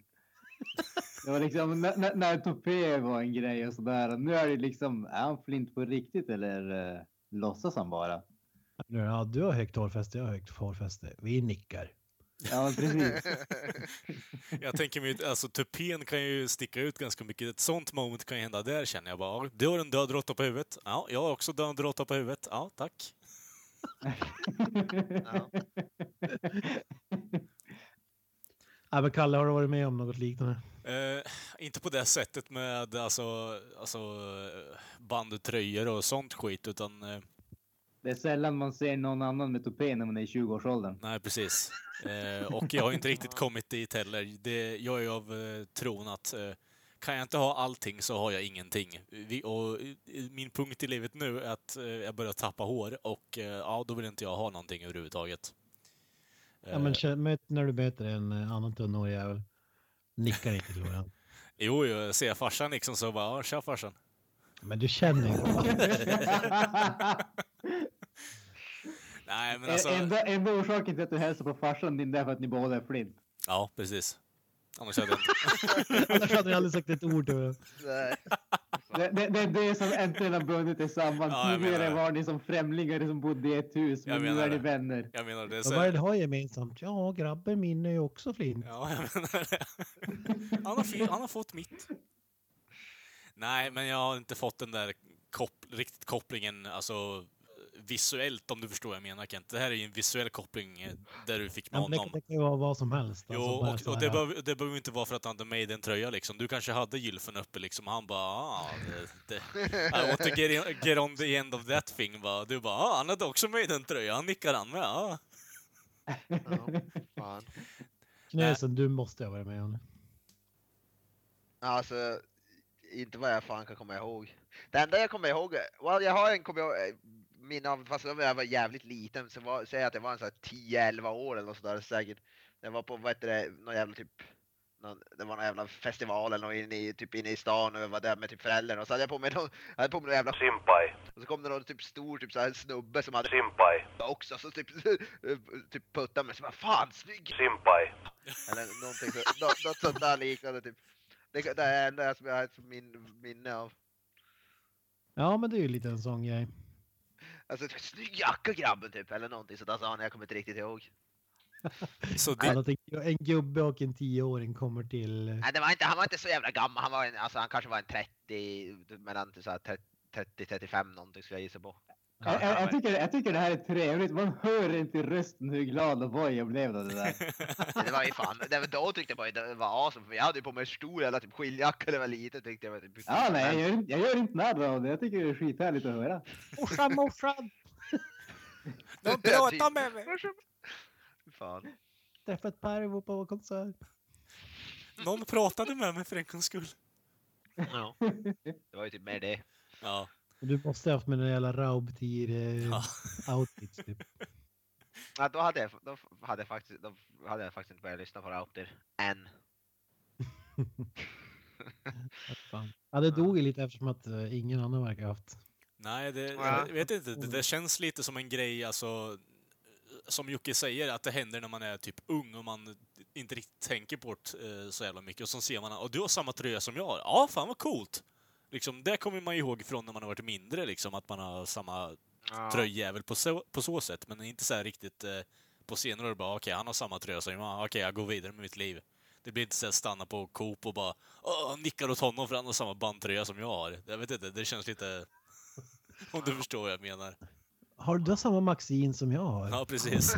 C: Det var liksom när, när- när tupé var en grej och sådär. Nu är det liksom, är han flint på riktigt eller eh, låtsas han bara?
D: Nu, Ja, du har högt hårfäste, jag har högt hårfäste. Vi nickar.
C: Ja, men precis.
A: Jag tänker mig, alltså tupén kan ju sticka ut ganska mycket. Ett sånt moment kan ju hända där känner jag bara. "Ja, Du har en död råtta på huvudet. Ja, jag har också död råtta på huvudet. Ja, tack.
B: Ja.
D: Ja, men Kalle, har du varit med om något liknande?
A: Eh, inte på det sättet med alltså, alltså eh, bandtröjor och sånt skit, utan eh,
C: (laughs) Det är sällan man ser någon annan med tupé när man är i 20-årsåldern.
A: nej, precis. Eh, och jag har inte
D: (laughs)
A: riktigt kommit dit heller. Det, jag är ju av eh, tron att eh, kan jag inte ha allting så har jag ingenting. Vi, och, eh, min punkt i livet nu är att eh, jag börjar tappa hår och eh, ja, då vill inte jag ha någonting överhuvudtaget.
D: Ja, men
A: Eh,
D: kä- möt- när du möter en eh, annan tunnhårig jävel, nickar inte till varandra.
A: Jo, jo, jag ser farsan liksom så bara, ja, tja
D: (laughs)
A: farsan.
D: Men du känner ju.
A: Nej, (laughs) men alltså.
C: enda, enda orsaken till att du hälsar på farsan din det är för att ni båda är flint.
A: Ja, precis. Annars hade jag inte...
D: (laughs) Annars hade jag aldrig sagt ett ord till varandra.
B: Så-
C: Det, det, det är det som äntligen har bundit er samman.
A: Ja, jag menar
C: Tidigare
A: det.
C: var ni som främlingar som bodde i ett hus,
A: Jag
C: men nu
A: menar
C: är ni
A: det.
C: vänner.
A: Jag menar det. är
D: Vad
A: Så
D: var det
A: här...
D: du har gemensamt? Ja, grabben min är ju också flint.
A: Ja, jag menar det. Han har, fi- han har fått mitt. Nej, men jag har inte fått den där kop- riktigt kopplingen, alltså visuellt om du förstår vad jag menar Kent. Det här är ju en visuell koppling eh, där du fick med
D: Ja, men
A: honom.
D: det, det kan ju vara vad som helst.
A: Jo,
D: alltså, bara
A: och,
D: så
A: och
D: här,
A: det,
D: ja.
A: behöver, det behöver inte vara för att han hade made en tröja liksom. Du kanske hade gylfen uppe liksom. Han bara ah, det, (laughs) det,
B: Ah,
A: I want to get, in, get on the end of that thing va. Du bara ah, han
C: (laughs)
A: hade också made en tröja. Han nickar han med. Ah.
B: Ja, fan.
D: Knösen, du måste ha varit med om.
B: Alltså, inte vad jag fan kan komma ihåg. Det enda jag kommer ihåg, well, jag har en kommer ihåg, eh, minne av, fast då var jag var jävligt liten, så var, säg att jag var en sån här 10-11 år eller något sådär säkert. Jag var på, vad heter det, någon jävla typ, någon, det var någon jävla festival eller något inne i, typ inne i stan och jag var där med typ föräldrarna och så hade jag på mig någon, jag hade på mig någon jävla
G: Simpai,
B: och så kom det någon typ stor typ så här snubbe som hade
G: Simpai,
B: också, så typ, (laughs) typ puttade mig så bara fan snygg
G: Simpai,
B: Eller någonting så, något, något sånt där liknande typ. Det, det är det enda som jag har ett min, minne av.
D: Ja, men det är ju lite en sån grej.
B: Alltså typ, snygg jacka grabben typ eller någonting sådär sa han, jag kommer inte riktigt ihåg.
H: Så
A: (laughs)
H: det,
D: Alla tänker, En gubbe och en tioåring kommer till... eh,
B: Nej, det var inte, han var inte så jävla gammal, han var en, alltså han kanske var en 30, mellan så här 30-35 någonting skulle jag gissa på.
C: Jag, jag, jag, tycker, jag tycker det här är trevligt. Man hör inte i rösten hur glad och boj jag blev av det där.
B: Men Det var ju fan, det var, då tyckte jag bara det var awesome, för jag hade ju på mig en stor jävla typ skinnjacka när jag var liten tyckte jag. var Typ,
C: Ja, nej, jag gör, inte- jag gör inte narr av det. Jag tycker det är skithärligt att höra.
D: (laughs) Morsan, morsan!
H: de pratar med mig.
B: Fan.
C: (laughs)
D: Träffat Parvo på konsert.
H: Någon pratade med mig för en gångs skull.
B: Ja. Det var ju typ mer det.
A: Ja.
D: Du måste ha haft med den jävla eh,
A: Ja.
D: Raubtier-outfits typ.
B: Ja, då hade jag, då hade jag, faktiskt, då hade jag faktiskt inte börjat lyssna på Router än.
D: Fan. Ja, det dog ju lite eftersom att eh, ingen annan verkar ha haft.
A: Nej, det,
B: Ja.
A: jag vet inte. Det, det känns lite som en grej, alltså, som Jocke säger, att det händer när man är typ ung och man inte riktigt tänker på det eh, så jävla mycket. Och så ser man och du har samma tröja som jag har. Ja, fan vad coolt! Liksom, det kommer man ihåg från när man har varit mindre, liksom, att man har samma tröjjävel på så, på så sätt. Men inte så här riktigt eh, på senare år bara, okej, han har samma tröja som jag. ah, Okej, jag går vidare med mitt liv. Det blir inte så att stanna på Coop och bara Åh, nickar åt honom för han har samma bandtröja som jag har. Jag vet inte, det känns lite... (laughs) Om du förstår vad jag menar.
D: Har du samma Maxin som jag har?
A: Ja,
B: (laughs)
A: precis.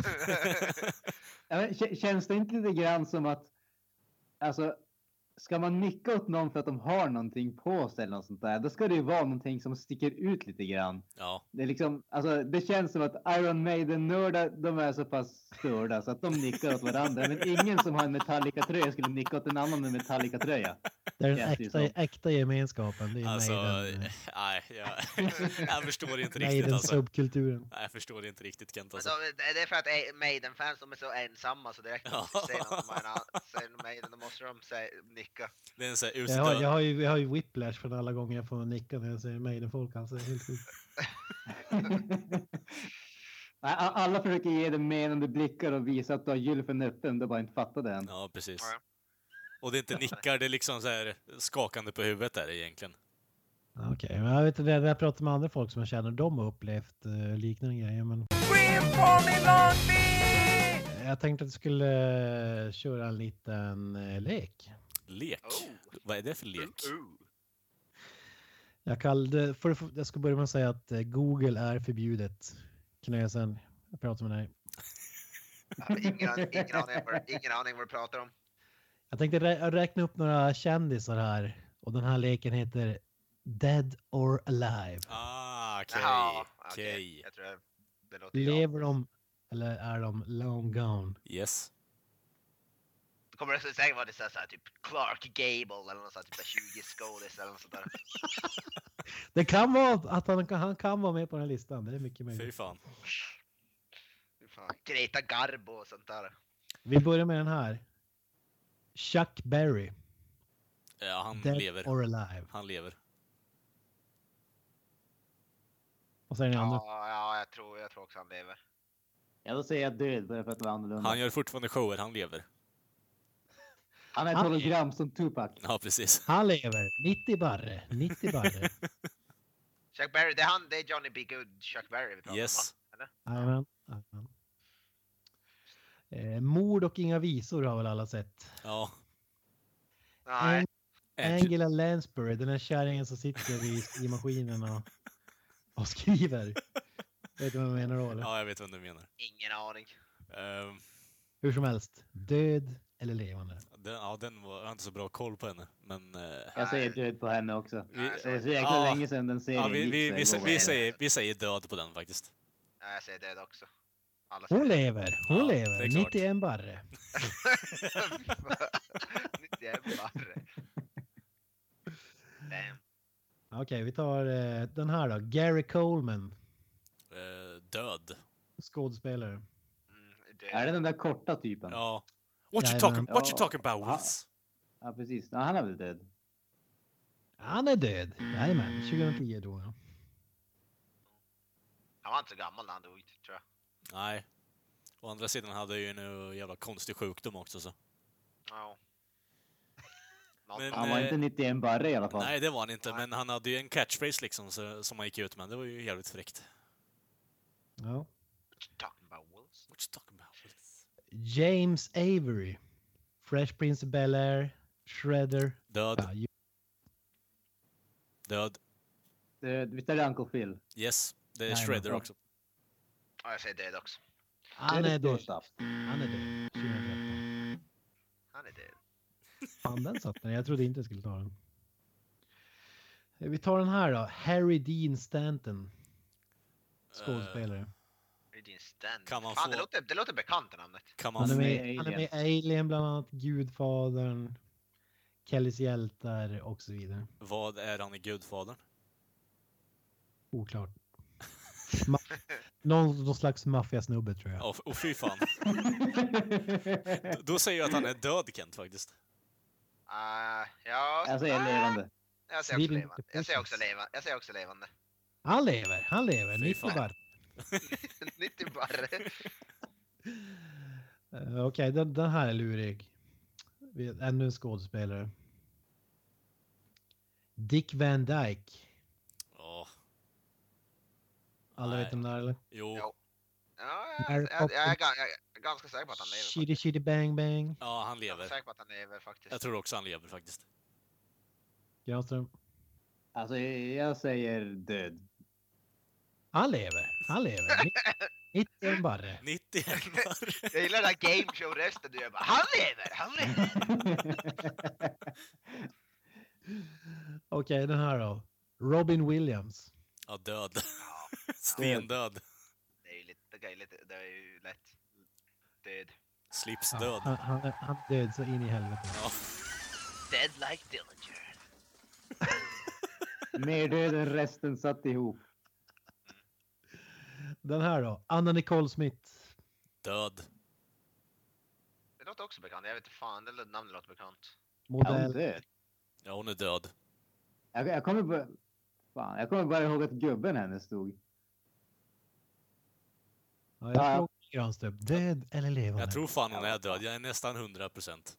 C: Ja, men, k- känns det inte lite grann som att... Alltså, ska man nicka åt någon för att de har någonting på sig eller något sånt där, då ska det ju vara någonting som sticker ut lite grann.
A: Ja,
C: Det, är liksom, alltså, det känns som att Iron Maiden-nördar, de är så pass störda så att de nickar åt varandra. Men ingen som har en Metallica-tröja skulle nicka åt en annan med Metallica-tröja. (laughs)
D: Det är den
C: Känns det ju
D: äkta, äkta gemenskapen. Det är
A: alltså...
D: Maiden, eh,
A: Nej, jag,
B: (laughs)
A: jag förstår inte riktigt alltså.
D: Maiden-subkulturen.
A: Nej, jag förstår inte riktigt Kent
B: Men
A: alltså.
B: de- det det är för att eh, Maiden-fans de är så ensamma så direkt när
A: Ja.
B: de ser någon som har en annan- ser någon Maiden då måste de säga, nicka.
A: Det är en sån här
D: Jag har, jag,
A: utdöd...
D: har ju, jag har ju whiplash från alla gånger jag får nicka när jag säger Maiden-folk. Alltså, det är helt sjukt.
C: Nej, a- Alla försöker ge dig menande blickar och visa att du har gylfen öppen, du bara inte fattar det än.
A: Ja, precis.
B: Ja.
A: Och det är
B: (laughs)
A: inte nickar, det är liksom så här skakande på huvudet där egentligen.
D: Ja, Okej, men jag vet inte, när jag pratar med andra folk som jag känner, de har upplevt eh, liknande grejer. Men... Jag tänkte att jag skulle eh, köra en liten eh, lek.
A: Lek?
B: Oh.
A: Vad är det för lek?
B: Mm.
D: Jag, kallade, för, för, jag ska börja med att säga att eh, Google är förbjudet. Knösen, jag pratar med dig.
B: Ja, Ingen, an- ingen, aning vad, ingen aning vad du pratar om.
D: Jag tänkte rä- räkna upp några kändisar här och den här leken heter Dead or Alive.
A: Ah, okej.
B: Jaha,
A: okej.
B: okej. Jag tror det, det låter bra.
D: Lever de eller är de long gone?
A: Yes.
B: Då kommer det så- säkert vara det så här, så här, typ Clark Gable eller något sånt, typ 20 skådis eller något sånt där.
D: Det kan vara att han kan, han kan vara med på den här listan. Det är mycket
A: Fy
D: möjligt.
A: fan.
B: Fy fan. Greta Garbo och sånt där.
D: Vi börjar med den här. Chuck Berry.
A: Ja, han
D: Dead
A: lever.
D: or alive.
A: Han lever.
D: Och sen den andra.
B: Ja, ja jag, tror, jag tror också han lever.
C: Ja, då säger jag död bara för att det var annorlunda.
A: Han
C: Han,
A: gör fortfarande shower, han lever.
C: är ett
D: Han-
C: hologram som Tupac.
A: Ja, precis.
D: Han lever. 90 barre. 90 barre.
B: Chuck Berry, det är han, det är Johnny B. Good, Chuck Berry vi pratar
A: Yes.
B: om va? Eller?
D: Jajamän. jajamän. Eh, mord och inga visor har väl alla sett.
A: Ja.
D: Mm.
B: Nej.
C: Äh,
A: Ed.
D: Angela Lansbury, den här kärringen som sitter vid skrivmaskinen och, och skriver. Vet du vad jag menar då? Eller?
A: Ja, jag vet vad du menar.
B: Ingen aning.
A: Ehm,
D: Hur som helst. Död eller levande.
A: den, ja, den var, jag har inte så bra koll på henne, men... eh,
C: Jag säger död på henne också.
A: Vi-
C: Det är så jäkla
A: Ja.
C: länge sedan den serien
A: ja, vi,
C: gick,
A: vi,
C: så
A: vi,
C: det går
A: vi,
C: väl.
A: säger, vi säger död på den faktiskt.
B: Ja, jag säger död också. alla
D: Hon lever, hon
A: Ja, det är
D: lever.
A: klart.
D: 91 barre.
B: (laughs) Det är bara... Damn.
D: Okej, vi tar eh, den här då. Gary Coleman,
A: Eh, död.
D: skådespelare.
B: Mm,
C: Är det den där korta typen?
A: Ja.
H: What you
D: Jajamän.
H: talking, what you
C: Ja.
H: talking about, Wolves?
C: Ja, precis. Ja, han är väl död.
D: Han är död. Jajamän, 2010 dog han.
B: Han var inte så gammal när han dog, tror jag.
A: Nej. Å andra sidan hade jag ju en jävla konstig sjukdom också så.
B: Ja. Någon
A: Men,
C: Han var
A: eh,
C: inte 91 barre i alla fall.
A: Nej, det var han inte,
B: Nej.
A: men han hade ju en catchphrase liksom så, som han gick ut med. Det var ju jävligt fräckt.
D: Ja.
B: talking about wolves.
A: What you talking about? Wolves?
D: James Avery, Fresh Prince of Bel-Air, Shredder.
A: Död.
D: Ja, ju-
A: Död.
C: Död. Visst är det Uncle Phil?
A: Yes. Det är
D: Nej, men-
A: Shredder också.
B: Ja, jag säger död också.
D: han är
C: död.
D: död. Han är död. 2013.
B: Han är död.
D: Fan, den satt den. Jag trodde inte jag skulle ta den. Eh, Vi tar den här då. Harry Dean Stanton,
A: Eh,
D: skådespelare.
B: Eugene Stan.
A: Kan man
B: Fan,
A: få-
B: det, låter, det låter bekant det namnet.
A: Kan man
D: Han är,
C: Han är med
D: med,
C: i
D: han är med
C: Alien.
D: i Alien bland annat, Gudfadern, Kellys hjältar och så vidare.
A: Vad är han i Gudfadern?
D: Oklart.
A: (laughs)
D: Ma- någon, någon slags maffiasnubbe tror jag.
A: Åh, f- åh, fy
D: (laughs)
A: fan. Då säger jag att han är död, Kent, faktiskt.
B: Uh, ja,
C: (laughs) jag säger
B: ah,
C: levande.
B: Jag säger också
D: Sweden
B: levande. Jag säger också
D: Precious.
B: levande. Jag säger också levande. (laughs)
D: Han lever, han lever.
A: Fy
D: 90
A: fan.
D: barr.
B: 90 barre.
D: Eh, Okej, den, den här är lurig. Vi- Ännu en skådespelare. Dick Van Dyke.
A: Ja.
D: Alla
A: Nej.
D: vet om det här eller?
A: Jo.
B: Ja. Ja, jag,
D: Mary
B: jag, jag, är
D: Poppins.
B: ga- jag är ganska säker på att han lever. faktiskt.
D: Chitty Chitty Bang Bang.
A: Ja, han
B: Jag är
A: lever.
B: säker på att han lever faktiskt.
A: Jag tror också han lever, (laughs) faktiskt.
D: Granström.
C: Alltså, jag säger död. (laughs)
D: Han lever, han
B: (laughs)
D: lever. 91 barre.
A: 91 var
B: Jag gillar den där game show-rösten du gör bara Han lever! Han lever!
D: Okej, den här då. Robin Williams.
A: Ja, död. Stendöd.
B: Det är ju lite, det är ju lite, det är ju lätt. Död.
A: Slips
D: Ja,
A: död.
D: Han, han, han är död så in i helvete.
A: Ja.
B: Dead like Dillinger.
C: Mer död än resten satt ihop.
D: Den här då. Anna Nicole Smith.
A: Död.
B: Det låter också bekant. Jag vet inte fan, det lå- namnet låter bekant.
C: Är hon
D: Modell.
C: död?
A: Ja, hon är död.
C: Jag, jag kommer bara... Fan, jag kommer bara ihåg att gubben hennes stod.
D: Ja,
C: Ja, ja.
D: jag frågar Granström. Död eller levande?
A: Jag tror fan hon är död. Jag är nästan 100 procent.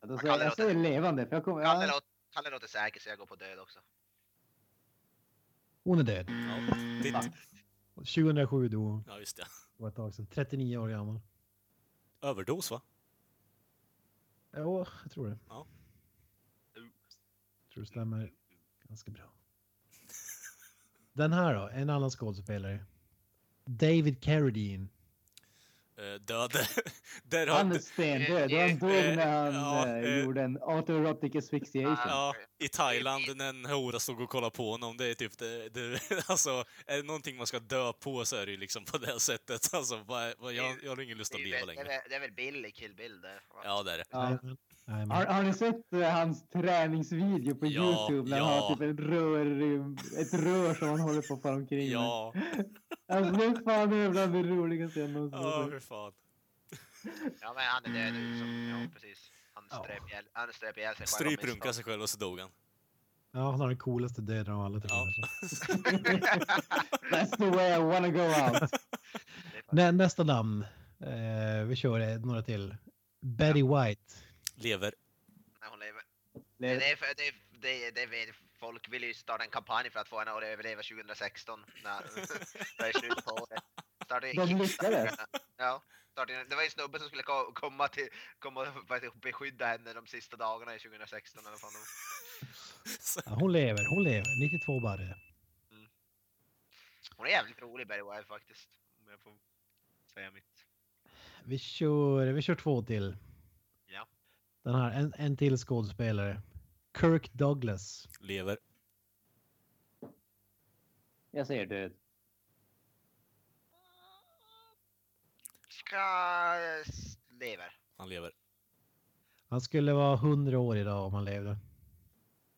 C: Ja, Då
B: Vad
C: sa jag,
B: kallar
C: jag
B: du det?
C: säger levande, för jag kommer...
B: Kalle,
C: Ja,
B: låter, Kalle låter säker så jag går på död också.
D: Hon är död.
A: Ja, ditt.
D: 2007 dog hon.
A: ja just det.
D: Det var ett tag sedan. 39 år gammal.
A: Överdos, va?
D: Jo, jag tror det.
A: Ja.
D: tror det stämmer ganska bra. Den här då. En annan skådespelare. David Carradine.
A: Eh, död. (laughs) Där har...
C: han är stendöd. Han dog när han
A: Ja,
C: eh,
A: eh.
C: gjorde en autoerotic asphyxiation.
A: Ja, i Thailand när en hora stod och kollade på honom. Det är typ det, det, (laughs) Alltså, är det någonting man ska dö på så är det ju liksom på det här sättet. (laughs) Alltså, vad, vad, jag, jag har ingen lust
B: Det
A: att
B: är,
A: leva
B: väl, det, är,
A: längre.
B: väl- det är väl Bill i Kill Bill det. va?
A: Ja, det är det.
C: Ja.
D: Jajamän. Jajamän.
C: Har, har ni sett eh, hans träningsvideo på
A: Ja,
C: Youtube? När han
A: ja.
C: har typ ett rör, i- ett rör som han håller på att fara omkring med?
A: Ja,
C: (laughs) Alltså det är fan det är bland det roligaste jag någonsin
A: ja
D: Mm.
A: för
C: har sett.
A: fan.
B: ja men han är död. Som, ja, precis. Han
D: Ja.
B: ströp ihjäl, han ströp ihjäl sig själv. av
A: Stryprunkade sig själv och så dog han.
D: Ja, han har den coolaste döden av alla. tycker
A: Ja.
D: jag.
C: That's the way I wanna go out.
B: misstag. (laughs) Det är fan-
D: Nä, nästa namn. Eh, vi kör eh, några till. Betty White.
A: Lever. (laughs)
B: Nej, hon lever.
C: Det-
B: Det är för, det, är- det, är- det vet, folk vill ju starta en kampanj för att få henne att överleva 2016. När, (laughs) det är slut på året. Starta en
C: De
B: Kickstarter.
C: lyckades.
B: Ja, starta en, det var ju snubben som skulle ko- komma till, komma och vad heter det, beskydda henne de sista dagarna i 2016 eller vad fan det var.
D: Ja, hon lever, hon lever. 92 barre.
B: Hon är jävligt rolig Barry White faktiskt. Om jag får säga mitt.
D: Vi kör, vi kör två till.
B: Ja.
D: Den här, en, en till skådespelare. Kirk Douglas.
A: Lever.
C: Jag säger död.
B: Tanaka eh, s- lever.
A: Han lever.
D: Han skulle vara 100 år idag om han levde.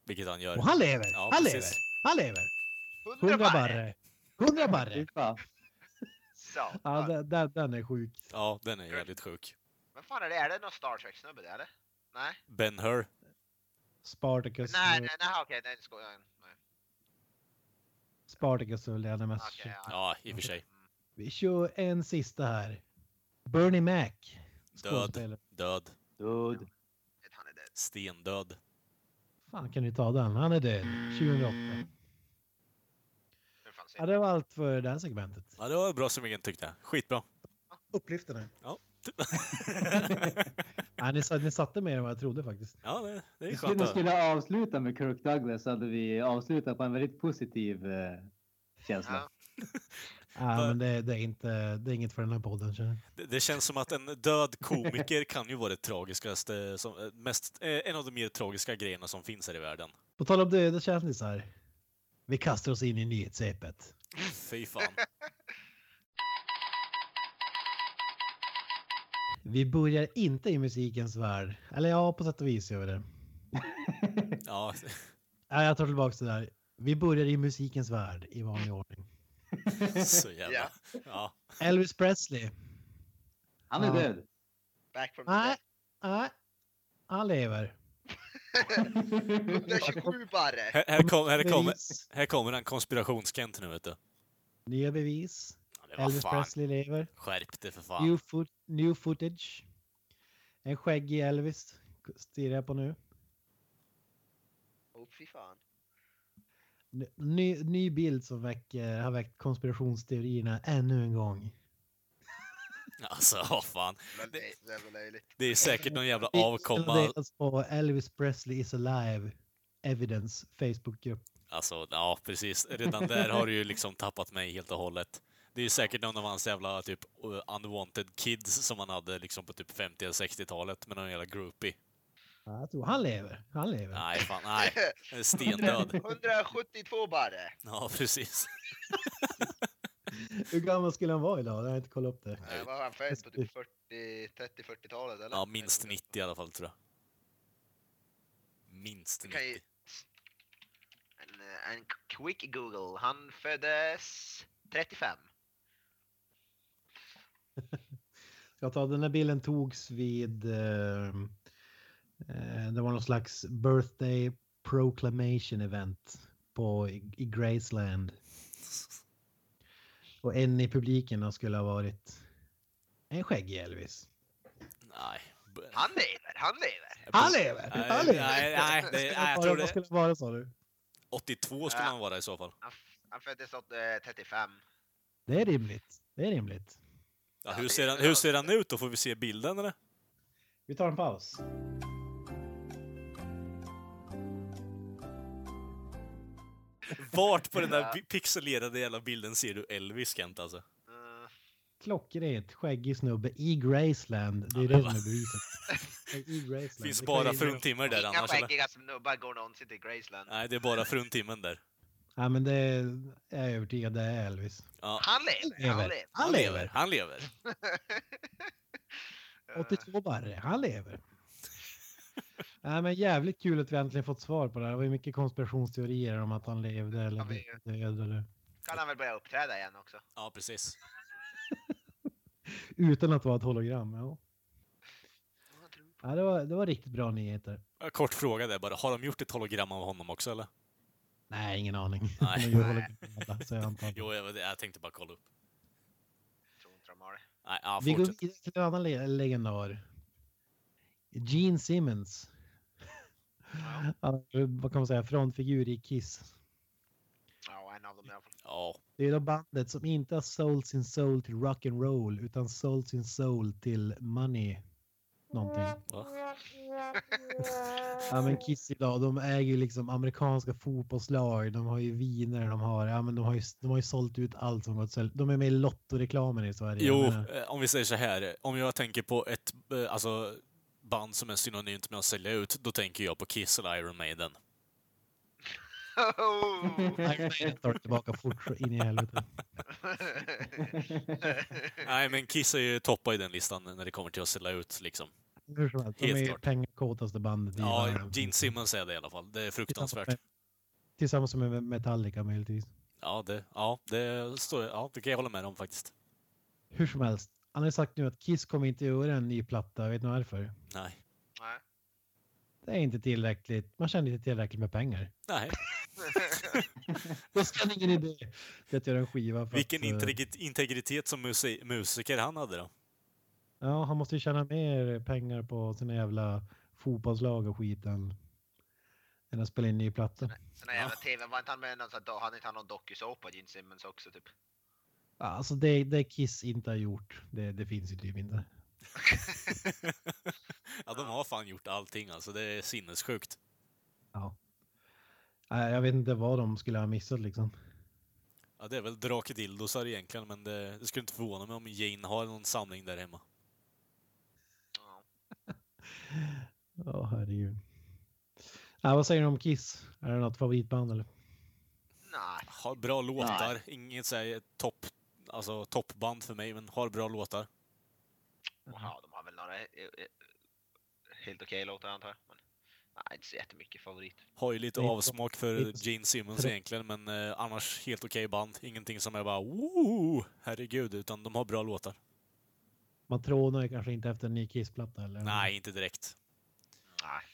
A: Vilket han gör.
D: Och han lever!
A: Ja,
D: han lever!
A: precis.
D: Han lever!
B: 100
D: 100
B: barre!
D: barre! 100 barre!
C: Fy fan.
D: Ja,
B: Satan.
D: den, den, den är sjuk.
A: Ja, den är jävligt sjuk.
B: Men fan är det? Är det någon Star Trek-snubbe där eller? Nej?
A: Ben Hur.
D: Spartacus.
B: Nej, nej, nej, okej, nej, det skojar jag. Nej,
D: Spartacus är väl det han är mest
B: Okej,
D: känd.
B: ja.
A: Ja, i och för sig.
D: Vi kör en sista här. Bernie Mac.
A: Död.
D: skådespelare.
A: Död.
C: Dude.
B: Han är död.
A: Stendöd.
D: Fan kan ni ta den? Han är död. 2008.
B: Hur fan ser
D: Ja, det var allt för det här segmentet.
A: Ja, det var bra summeringen tyckte jag.
D: (laughs)
A: Skitbra. (laughs)
D: Upplyftande.
A: Ja.
D: Ja, ni, sa- ni satte mer än vad jag trodde faktiskt.
A: ja, det, det är
C: Vi skulle,
A: skönt.
C: vi
A: att-
C: skulle avsluta med Kirk Douglas så hade vi avslutat på en väldigt positiv eh, känsla.
B: Ja.
D: Ja, men det, det, är inte, det är inget för den här podden. Känner. jag.
A: Det, det känns som att en död komiker kan ju vara det tragiskaste, som, mest, eh, en av de mer tragiska grejerna som finns här i världen.
D: På tal om döda kändisar. Vi kastar oss in i nyhetssvepet.
A: Fy fan.
D: Vi börjar inte i musikens värld. Eller ja, på sätt och vis gör vi det.
A: Ja, (laughs)
D: Nej, jag tar tillbaka det där. Vi börjar i musikens värld i vanlig ordning.
A: så jävla... Ja.
D: Elvis Presley.
C: Han är
D: Ja.
C: (laughs) död.
B: Back from the
D: Nej,
B: dead.
D: nej. Han lever.
B: (laughs) 127 barre!
A: Här, här, kom, här, kommer,
D: Bevis.
A: här kommer han konspirationskent nu vet du.
D: Nya bevis.
A: Ja, det var
D: Elvis
A: fan.
D: Presley lever.
A: Skärp dig för fan.
D: New, foot, new footage. En skäggig Elvis stirrar jag på nu.
B: Åh fy fan.
D: N- Ny, ny bild som väcker, har väckt konspirationsteorierna ännu en gång.
A: Alltså, vad fan.
B: Men det det är väl löjligt.
A: Det är säkert någon jävla
D: Bilden
A: avkomma.
D: delas på Elvis Presley is alive evidence Facebookgrupp.
A: Alltså, ja precis. Redan där har du ju liksom tappat mig helt och hållet. Det är ju säkert någon av hans jävla typ uh, unwanted kids som han hade liksom på typ 50 eller 60-talet med någon jävla groupie.
D: Ja, jag tror han lever. Han lever.
A: Nej, fan, nej.
B: (laughs)
A: Stendöd.
B: 172 barre!
A: Ja, precis.
D: Hur gammal skulle han vara idag? Jag har inte kollat upp det.
B: Eh, Vad var han född på? Typ 40, 30-40-talet eller?
A: Ja, minst 90 i alla fall tror jag. Minst
B: Du kan ju...
A: 90.
B: En, eh, en quick google. Han föddes 35.
D: Ska jag ta den här bilden togs vid... Eh, eh, det var någon slags birthday proclamation event på, i, i Graceland. Och en i publiken då skulle ha varit en skäggig Elvis.
A: Nej. B-
B: Han lever, han lever!
D: Han lever!
A: Nej,
D: Han lever!
A: nej, nej, det, nej, jag
D: Vad-
A: tror
D: Vad
A: det.
D: skulle det vara sa du?
A: 82 skulle han vara i så fall.
B: Han, f- han föddes åt, eh, 35.
D: Det är rimligt. Det är rimligt.
A: Ja, hur, ser han, hur ser han ut då? Får vi se bilden eller?
D: Vi tar en paus.
A: Vart på den där pi- pixelerade jävla bilden ser du Elvis Kent alltså?
B: Eh,
D: Klockrent skäggig snubbe i Graceland. Det är det som är beviset. I Graceland.
A: Finns
D: Det kan
A: bara
D: ju-
A: fruntimmer där
B: Inga
A: annars eller?
B: skäggiga snubbar går någonsin till Graceland.
A: Nej, det är bara fruntimmen där.
D: Ja men det är, jag är övertygad det är Elvis.
A: Ja,
B: Han lever, han
D: lever.
B: lever!
D: Han lever.
A: Han lever. Äh.
B: Eh,
D: 82 barre, han lever. Nej men jävligt kul att vi äntligen fått svar på det här. Det var ju mycket konspirationsteorier om att han levde eller
B: Ja, vi-
D: död eller
B: Kan han väl börja uppträda igen också?
A: Ja, precis.
D: utan att vara ett hologram. Ja. Ja, det, var, det var riktigt bra nyheter.
A: Kort fråga där bara. Har de gjort ett hologram av honom också eller?
D: Nej, ingen aning. (laughs)
A: Nej.
D: De gör hologram alla, så jag antar. att-
A: Jo, jag, jag tänkte bara kolla upp.
B: Tror inte de har det.
A: Nej, ja,
D: Vi går
A: fortsätt.
D: vidare till en annan le- legendar. Gene Simmons. Han är, Vad kan man säga? Frontfigur i Kiss.
B: Ja, en av dem i alla
A: (laughs)
B: fall.
A: Ja,
D: Det är då bandet som inte har sålt sin soul till rock and roll utan sålt sin soul till money. Någonting.
A: va?
D: Ja men Kiss idag, de äger ju liksom amerikanska fotbollslag, de har ju viner, de har, ja men de har ju, de har ju sålt ut allt som gått att sälja. De är med i lottoreklamen i Sverige.
A: Jo,
D: Jag menar,
A: eh, om vi säger så här. Om jag tänker på ett eh, alltså, band som är synonymt med att sälja ut, då tänker jag på Kiss eller Iron Maiden.
D: Nej, tar det tillbaka fort så in i helvete.
C: (laughs)
A: Nej, men Kiss är ju toppa i den listan när det kommer till att ställa ut liksom.
D: Hur som helst, de
A: Helt
D: är ju
A: klart.
D: pengakåtaste bandet i
A: Ja,
D: världen.
A: Gene Simmons är det i alla fall. Det är
D: Tillsammans
A: fruktansvärt.
D: med- Tillsammans med Metallica möjligtvis.
A: Ja, det, ja, det, står, ja, det kan jag hålla med om faktiskt.
D: Hur som helst, han har ju sagt nu att Kiss kommer inte göra en ny platta, jag vet inte varför.
A: Nej.
B: Nej.
D: Det är inte tillräckligt, man tjänar inte tillräckligt med pengar.
A: Nej.
D: Då ska han ingen idé till att göra en skiva. För
A: Vilken
D: att, eh,
A: integri- integritet som musi- musiker han hade då. (laughs)
D: Ja, han måste ju tjäna mer pengar på sina jävla fotbollslag och skit än, än att spela in ny platta.
B: Sån där jävla TV, var inte han med i någon sån här, hade inte han någon dokusåpa Gene Simmons också typ?
D: Ja, Alltså det, det Kiss inte har gjort, det, det finns ju typ inte.
A: ja, de har fan gjort allting alltså. Det är sinnessjukt.
D: Ja. Nej, Jag vet inte vad de skulle ha missat liksom.
A: Ja, det är väl drake dildosar egentligen, men det, det skulle inte förvåna mig om Jane har någon samling där hemma.
B: Ja.
D: Ja, herregud. Ja, vad säger du om Kiss? Är det något favoritband eller?
B: Nej.
A: Har bra låtar. Inget såhär topp, alltså toppband för mig, men har bra låtar.
B: Ja, de har väl några eh, eh, helt okej låtar antar jag. Men, nej, inte så jättemycket favorit.
A: Har ju lite
D: Det är
A: avsmak för
D: lite så-
A: Gene Simmons
D: trö-
A: egentligen, men eh, annars helt okej band. Ingenting som är bara woo, herregud, utan de har bra låtar.
D: Man trånar ju kanske inte efter en ny Kiss-platta eller?
A: Nej, inte direkt.
B: Nej.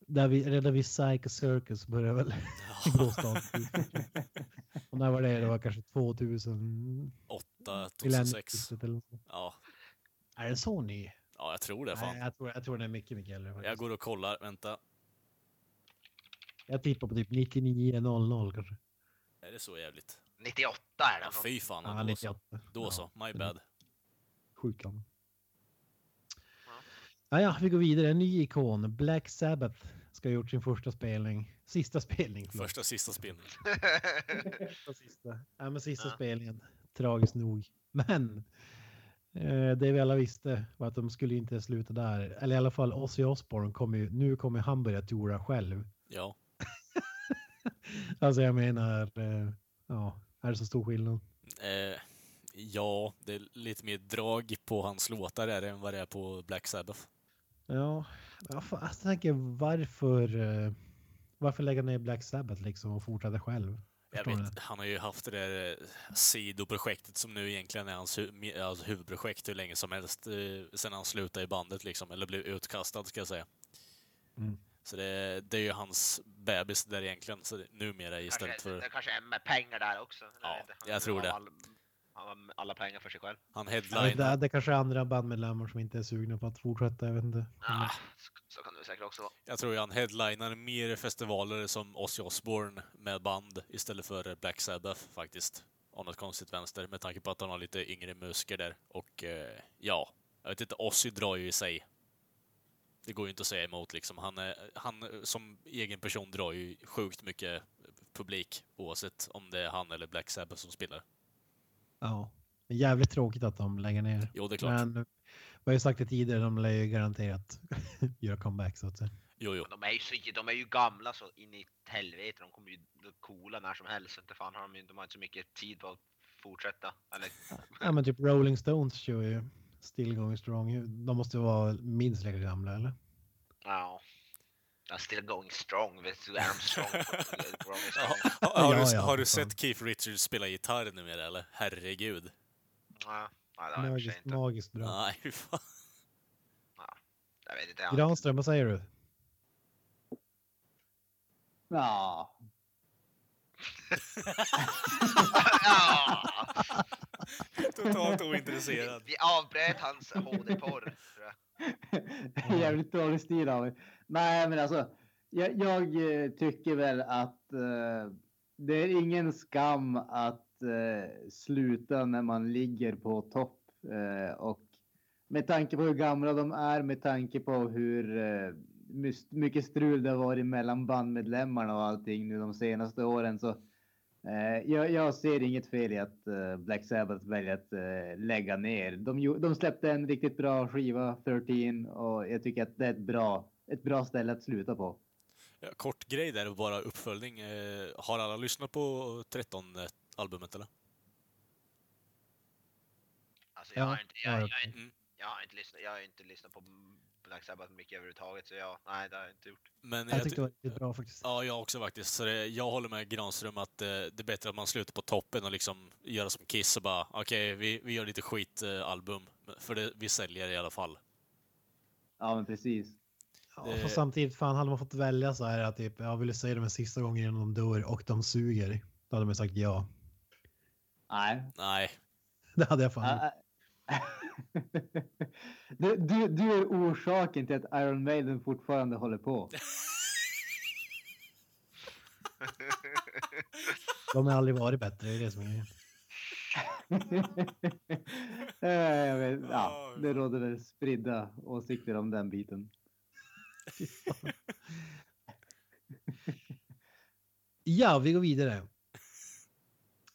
D: Där vi, redan vid Psycho Circus
A: (laughs)
D: började väl blåsa av. Och när var det? Det var kanske 2000?
A: 8,
D: Millennium
A: 2006.
D: Kisset Mm. eller något.
A: Ja,
D: Är den så ny?
A: ja, jag tror det
D: Nej,
A: fan.
D: jag tror, jag tror den är mycket, mycket äldre.
A: Jag
D: faktiskt.
A: går och kollar, vänta.
D: jag tippar på typ 99.00 kanske.
A: Är det så jävligt?
B: 98 är
A: Ja,
B: den. (laughs) från.
A: fy fan,
D: Ja,
A: då så.
D: 98.
A: Då
D: Ja,
A: så, my bad.
D: Sjukt gammal. Ja, ja, vi går vidare. En ny ikon, Black Sabbath, ska ha gjort sin första spelning. Sista spelning. förlåt.
A: Första sista spelningen.
D: Sista, sista. Ja, men sista
B: Ja.
D: spelningen. Tragiskt nog. Men eh, det vi alla visste var att de skulle inte sluta där. Eller i alla fall Ozzy Osbourne kommer ju, nu kommer han börja tora själv.
A: Ja.
D: Alltså jag menar, eh, ja, är det så stor skillnad?
A: Eh, ja, det är lite mer drag på hans låtar är det än vad det är på Black Sabbath.
D: Ja, ja, fan, alltså, jag tänker varför, eh, varför lägga ner Black Sabbath liksom och fortsätta själv?
A: Jag
D: Förstår
A: vet, han har ju haft det där eh, sidoprojektet som nu egentligen är hans hu- me- alltså huvudprojekt hur länge som helst eh, sen han slutade i bandet liksom, eller blev utkastad ska jag säga.
D: Mm.
A: Så det, det är ju hans bebis där egentligen, så det, numera istället
B: kanske,
A: för...
B: Det kanske är med pengar där också. eller
A: Ja,
B: inte.
A: jag tror
B: har
A: det.
B: All, han har alla pengar för sig själv.
A: Han
D: Ja, men
A: headline...
D: det, det kanske är andra bandmedlemmar som inte är sugna på att fortsätta, jag vet inte.
A: Mm.
B: Ah, så, så kan det säkert också vara.
A: Jag tror ju han headlinar mer festivaler som Ozzy Osbourne med band istället för Black Sabbath faktiskt. Av något konstigt vänster med tanke på att han har lite yngre musiker där och eh, ja, jag vet inte, Ozzy drar ju i sig. Det går ju inte att säga emot liksom. Han, är, han eh, som egen person drar ju sjukt mycket publik oavsett om det är han eller Black Sabbath som spelar.
D: Ja, men jävligt tråkigt att de lägger ner.
A: Jo, det är klart.
D: Men vi har ju sagt det tidigare, de lär ju garanterat (laughs) göra comeback så att säga.
A: Jo, jo.
B: Men De är, ju, så- de är ju gamla så in i ett helvete. De kommer ju bli coola när som helst. Inte fan har de, ju- de har inte så mycket tid på att fortsätta. Eller,
D: Ja men typ Rolling Stones kör ju Still Going Strong. De måste ju vara minst lika gamla eller?
B: ja. They're still going strong. Vet du, är de strong? Strong
A: (laughs)
B: is
A: Ja, liksom.
B: strong.
A: har, har,
D: Ja,
A: du,
D: ja,
A: har du
D: fan.
A: sett Keith Richards spela gitarr numera eller? Herregud.
B: Ja, nej, det har jag i och för sig
D: Magiskt,
B: inte.
D: magiskt bra.
A: Nej, hur
D: (laughs)
A: fan.
B: Jag vet inte. han-
D: Granström, vad säger du?
C: Ja. (laughs)
B: (laughs) Ja!
A: (laughs) Totalt ointresserad.
B: Vi avbröt hans HD-porr. tror jag.
C: Jävligt dålig stil av mig. Nej, men alltså. Jag, jag eh, tycker väl att eh, det är ingen skam att eh, sluta när man ligger på topp. Eh, och med tanke på hur gamla de är, med tanke på hur eh, mys- mycket strul det har varit mellan bandmedlemmarna och allting nu de senaste åren så Eh, jag, jag ser inget fel i att eh, Black Sabbath väljer att eh, lägga ner. De, gjo- de släppte en riktigt bra skiva, 13, och jag tycker att det är ett bra, ett bra ställe att sluta på.
A: Ja, Kort grej där, och bara uppföljning. Eh, Har alla lyssnat på 13-albumet eller?
B: Alltså, jag,
D: Ja,
B: har inte,
D: det har
B: jag,
D: jag
B: jag,
A: Mm.
B: jag, jag, har inte lyssnat, jag har inte lyssnat på Black Sabbath mycket överhuvudtaget, så jag, nej det har jag inte gjort.
A: Men
D: Jag
A: ty-
D: tyckte det var riktigt bra faktiskt.
A: Ja, jag också faktiskt. Så det, jag håller med Granström att eh, det är bättre att man slutar på toppen och liksom göra som Kiss och bara okej, vi, vi gör lite skitalbum. Eh, album. för det, vi säljer i alla fall.
C: Ja, men precis.
D: Ja,
A: det-
D: fast samtidigt, fan hade man fått välja så här att typ, jag vill du säga dem en sista gången innan de dör och de suger. Då hade man sagt ja. (laughs)
C: Nej.
A: Nej,
D: Det hade jag fan.
C: Ah, ah. (laughs) Du, du, du är orsaken till att Iron Maiden fortfarande håller
D: (laughs)
C: på. (laughs)
D: De har aldrig varit bättre. Det är det som är grejen.
C: Eh, Jag vet, ja, det råder väl spridda åsikter om den biten.
D: Ja, vi går vidare.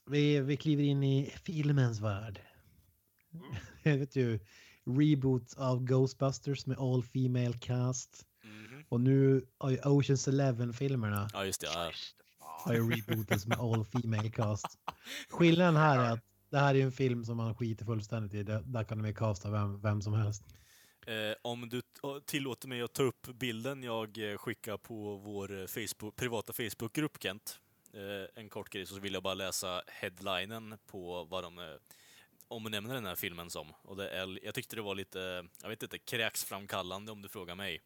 D: Vi, vi kliver in i filmens värld. (laughs) Jag vet ju, reboot av Ghostbusters med all female cast.
A: Mhm.
D: Och nu har ju Oceans Eleven-filmerna
A: ja just det. Ja.
B: Just det,
D: har
B: fan.
D: ju rebootats med all female cast. Skillnaden här är att det här är ju en film som man skiter fullständigt i. Där, där kan de ju casta vem, vem som helst.
A: Eh, om du t- å- tillåter mig att ta upp bilden jag eh, skickar på vår eh, Facebook, privata Facebookgrupp Kent. Eh, en kort grej så vill jag bara läsa headlinen på vad de eh, omnämner den här filmen som. Och det är, jag tyckte det var lite, eh, jag vet inte, kräksframkallande om du frågar mig.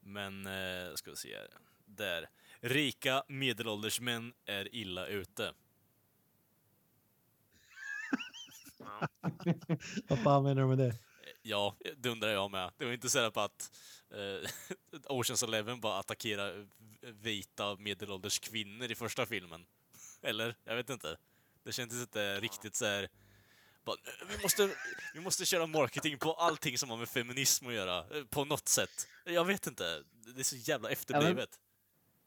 A: Men, eh, ska vi se här. Där. Rika medelålders män är illa ute.
D: Vad fan menar du med det?
A: Ja, det undrar jag med. Det var inte så här på att eh, (laughs) Oceans Eleven bara attackerar vita medelålders kvinnor i första filmen. Eller? Jag vet inte. Det kändes inte riktigt så här... Bara, "Eh, vi, måste, vi måste köra marketing på allting som har med feminism att göra, eh, på något sätt. Jag vet inte. Det är så jävla efterblivet.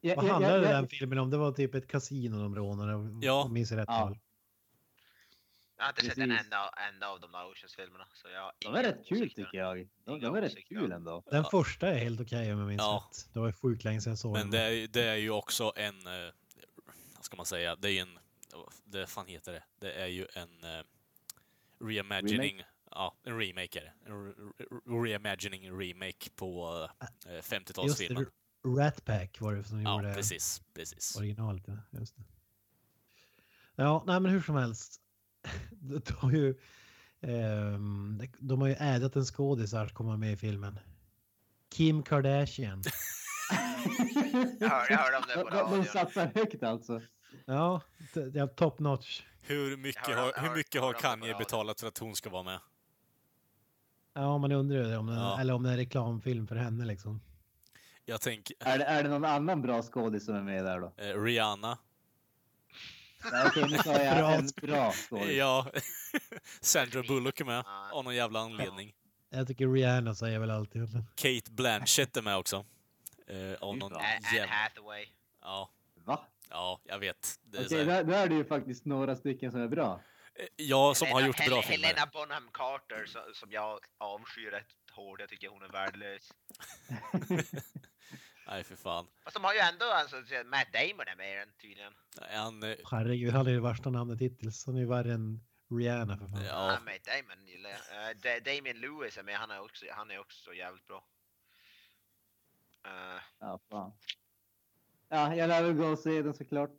C: Jag,
D: Vad
C: jag- jag-
D: handlade
C: jag-
D: den filmen om? Det var typ ett kasino de rånade. om
A: Ja.
D: jag Minns jag rätt.
C: Ja.
D: väl?
B: Jag har inte sett en
C: Precis.
B: enda, enda av de där Oceans-filmerna. Så jag har
C: De var
B: inga
C: rätt kul
B: åsikter.
C: tycker jag. De,
B: Inga
C: de var rätt
B: åsikter.
C: kul ändå.
D: Den
A: Ja.
D: första är helt okej om jag minns
A: Ja.
D: rätt. Det var ju sjukt länge sedan jag såg
A: Men
D: den.
A: det är, det är ju också en... eh, Vad ska man säga? Det är ju en... Det fan heter det? Det är ju en... eh, reimagining. Ja, en remake är det. En re- re- reimagining remake på eh,
D: Ah, Just det,
A: 50-talsfilmen.
D: Rat Pack var det som
A: Ja,
D: gjorde
A: precis. precis.
D: originalet. ja. Just det. Ja, nej men hur som helst. (laughs) De har ju, ehm, de- de har ju ädat en skådis här att komma med i filmen. Kim Kardashian.
A: (laughs)
B: Jag hörde, jag hörde om det
C: De,
B: på
C: de, de
B: radion.
C: satsar högt alltså.
D: Ja, det, det är top notch.
A: Hur mycket
B: Jag har-
A: har,
B: jag
A: hur
B: har-
A: mycket
B: jag
A: har
B: har hört på
A: Kanye
B: radio.
A: betalat för att hon ska vara med?
D: Ja, man undrar ju det om den,
A: Ja.
D: eller om det är en reklamfilm för henne liksom.
A: Jag tänker...
C: Är det, är det någon annan bra skådis som är med där då?
A: eh, Rihanna.
C: Nej, Okej, nu sa jag
D: Bra
C: en bra skådis.
A: Ja. (laughs) Sandra Bullock är med.
B: Ja.
A: Av någon jävla anledning.
D: Jag tycker Rihanna säger väl alltid.
A: Kate Blanchett är med också. Eh, av
C: Fy
A: någon
C: fan.
B: Anne
A: jävla...
B: Hathaway.
A: Ja.
C: Va?
A: Ja, jag vet. Det är
C: Okej,
A: så här-
C: där, där är det ju faktiskt några stycken som är bra.
A: Eh, Ja, som har
B: Helena-
A: gjort bra
B: Hel-
A: filmer.
B: Helena Bonham Carter som, som jag avskyr rätt hårt. Jag tycker hon är värdelös.
A: Nej, för fan.
B: Fast de har ju ändå alltså, så- Matt Damon är med i den tydligen.
A: Nej, Han, eh,
D: Herregud, han är det värsta namnet hittills. Han är ju värre än Rihanna för fan.
B: Ja.
A: ja,
B: Matt Damon gillar jag. Eh, Da- Damien Lewis är med. Han är också, han är också jävligt bra.
A: (laughs)
B: Eh,
C: Ja, fan. Ja, jag lär väl gå och se den såklart.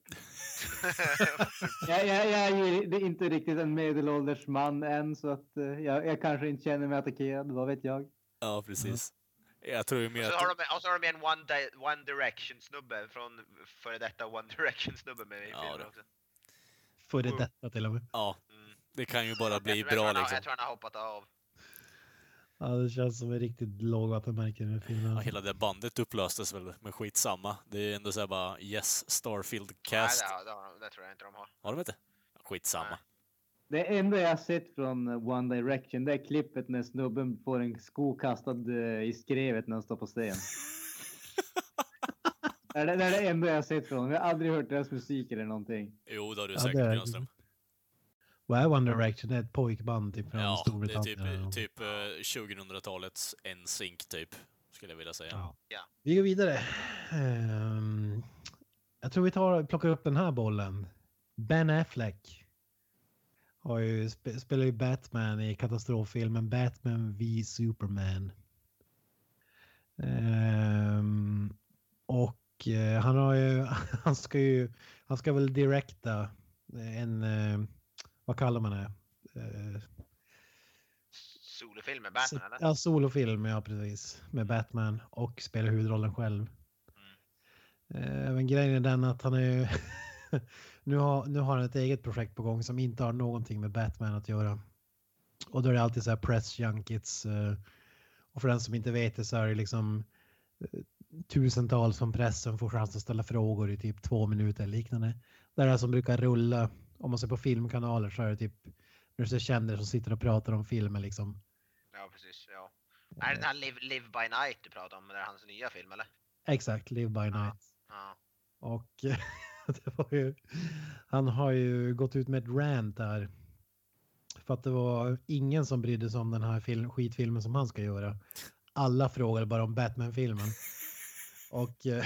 C: Jag, jag, jag är ju det är inte riktigt en medelålders man än så att eh, jag, jag kanske inte känner mig attackerad, vad vet jag.
A: ja, precis.
D: Mm.
A: Jag tror ju
B: och
A: mer
B: så har
A: att...
B: de, och så har de en One, Di- One Direction snubbe från före detta One Direction snubbe med i
A: Ja,
B: filmen
A: du.
B: också.
D: Före detta till och med.
A: Ja,
B: Mm.
A: det kan ju bara
B: Jag tror-
A: bli
B: jag tror
A: bra
B: han har-
A: liksom.
B: Jag tror han har hoppat av.
D: Ja, det känns som ett riktigt lågvattenmärke i den här filmen.
A: Ja, hela det bandet upplöstes väl, men skitsamma. Det är ändå såhär bara yes, Starfield cast.
B: Nej, det, har- det, har de- det tror jag inte de har.
A: Har de inte? Skitsamma.
B: Nej.
C: Det enda jag har sett från eh, One Direction det är klippet när snubben får en sko kastad eh, i skrevet när han står på scen. det, är det, det är det enda jag har sett från dem. Jag har aldrig hört deras musik
A: (laughs)
C: eller någonting.
A: Jo, det har du
D: Ja,
A: säkert,
D: det är-
A: Granström.
D: Vad är One Direction? Det är ett pojkband typ från
A: Ja, det är
D: Storbritannien.
A: typ,
D: eller något.
A: typ eh, 2000-talets NSYNC, typ. skulle skulle jag vilja säga.
D: Ja.
B: Ja.
D: Vi går vidare. Ehm, jag tror vi tar, plockar upp den här bollen. Ben Affleck har ju, sp- spelar ju Batman i katastroffilmen Batman v Superman. Ehm, och eh, han har ju, (laughs) han ska ju, han ska väl direkta en, eh, vad kallar man det? Eh,
B: Solofilm med Batman
D: så-
B: eller?
D: Ja, solofilm, ja precis. Med Batman och spelar huvudrollen själv. Eh, Men grejen är den att han är ju... (laughs) nu, har, nu har han ett eget projekt på gång som inte har någonting med Batman att göra. Och då är det alltid så här press junkets. eh, Och för den som inte vet det så är det liksom eh, tusentals från pressen får chans att ställa frågor i typ två minuter eller liknande. Det är det här som brukar rulla. Om man ser på filmkanaler så är det typ när du ser kändisar som sitter och pratar om filmer liksom.
B: Ja precis. Ja. Är det den här Live, Live by Night du pratar om? Det är hans nya film eller?
D: Exakt, Live by
B: Ja.
D: Night.
B: Ja.
D: Och (laughs) det var ju, han har ju gått ut med ett rant där. För att det var ingen som brydde sig om den här film, skitfilmen som han ska göra. Alla frågade bara om Batman-filmen. Och eh,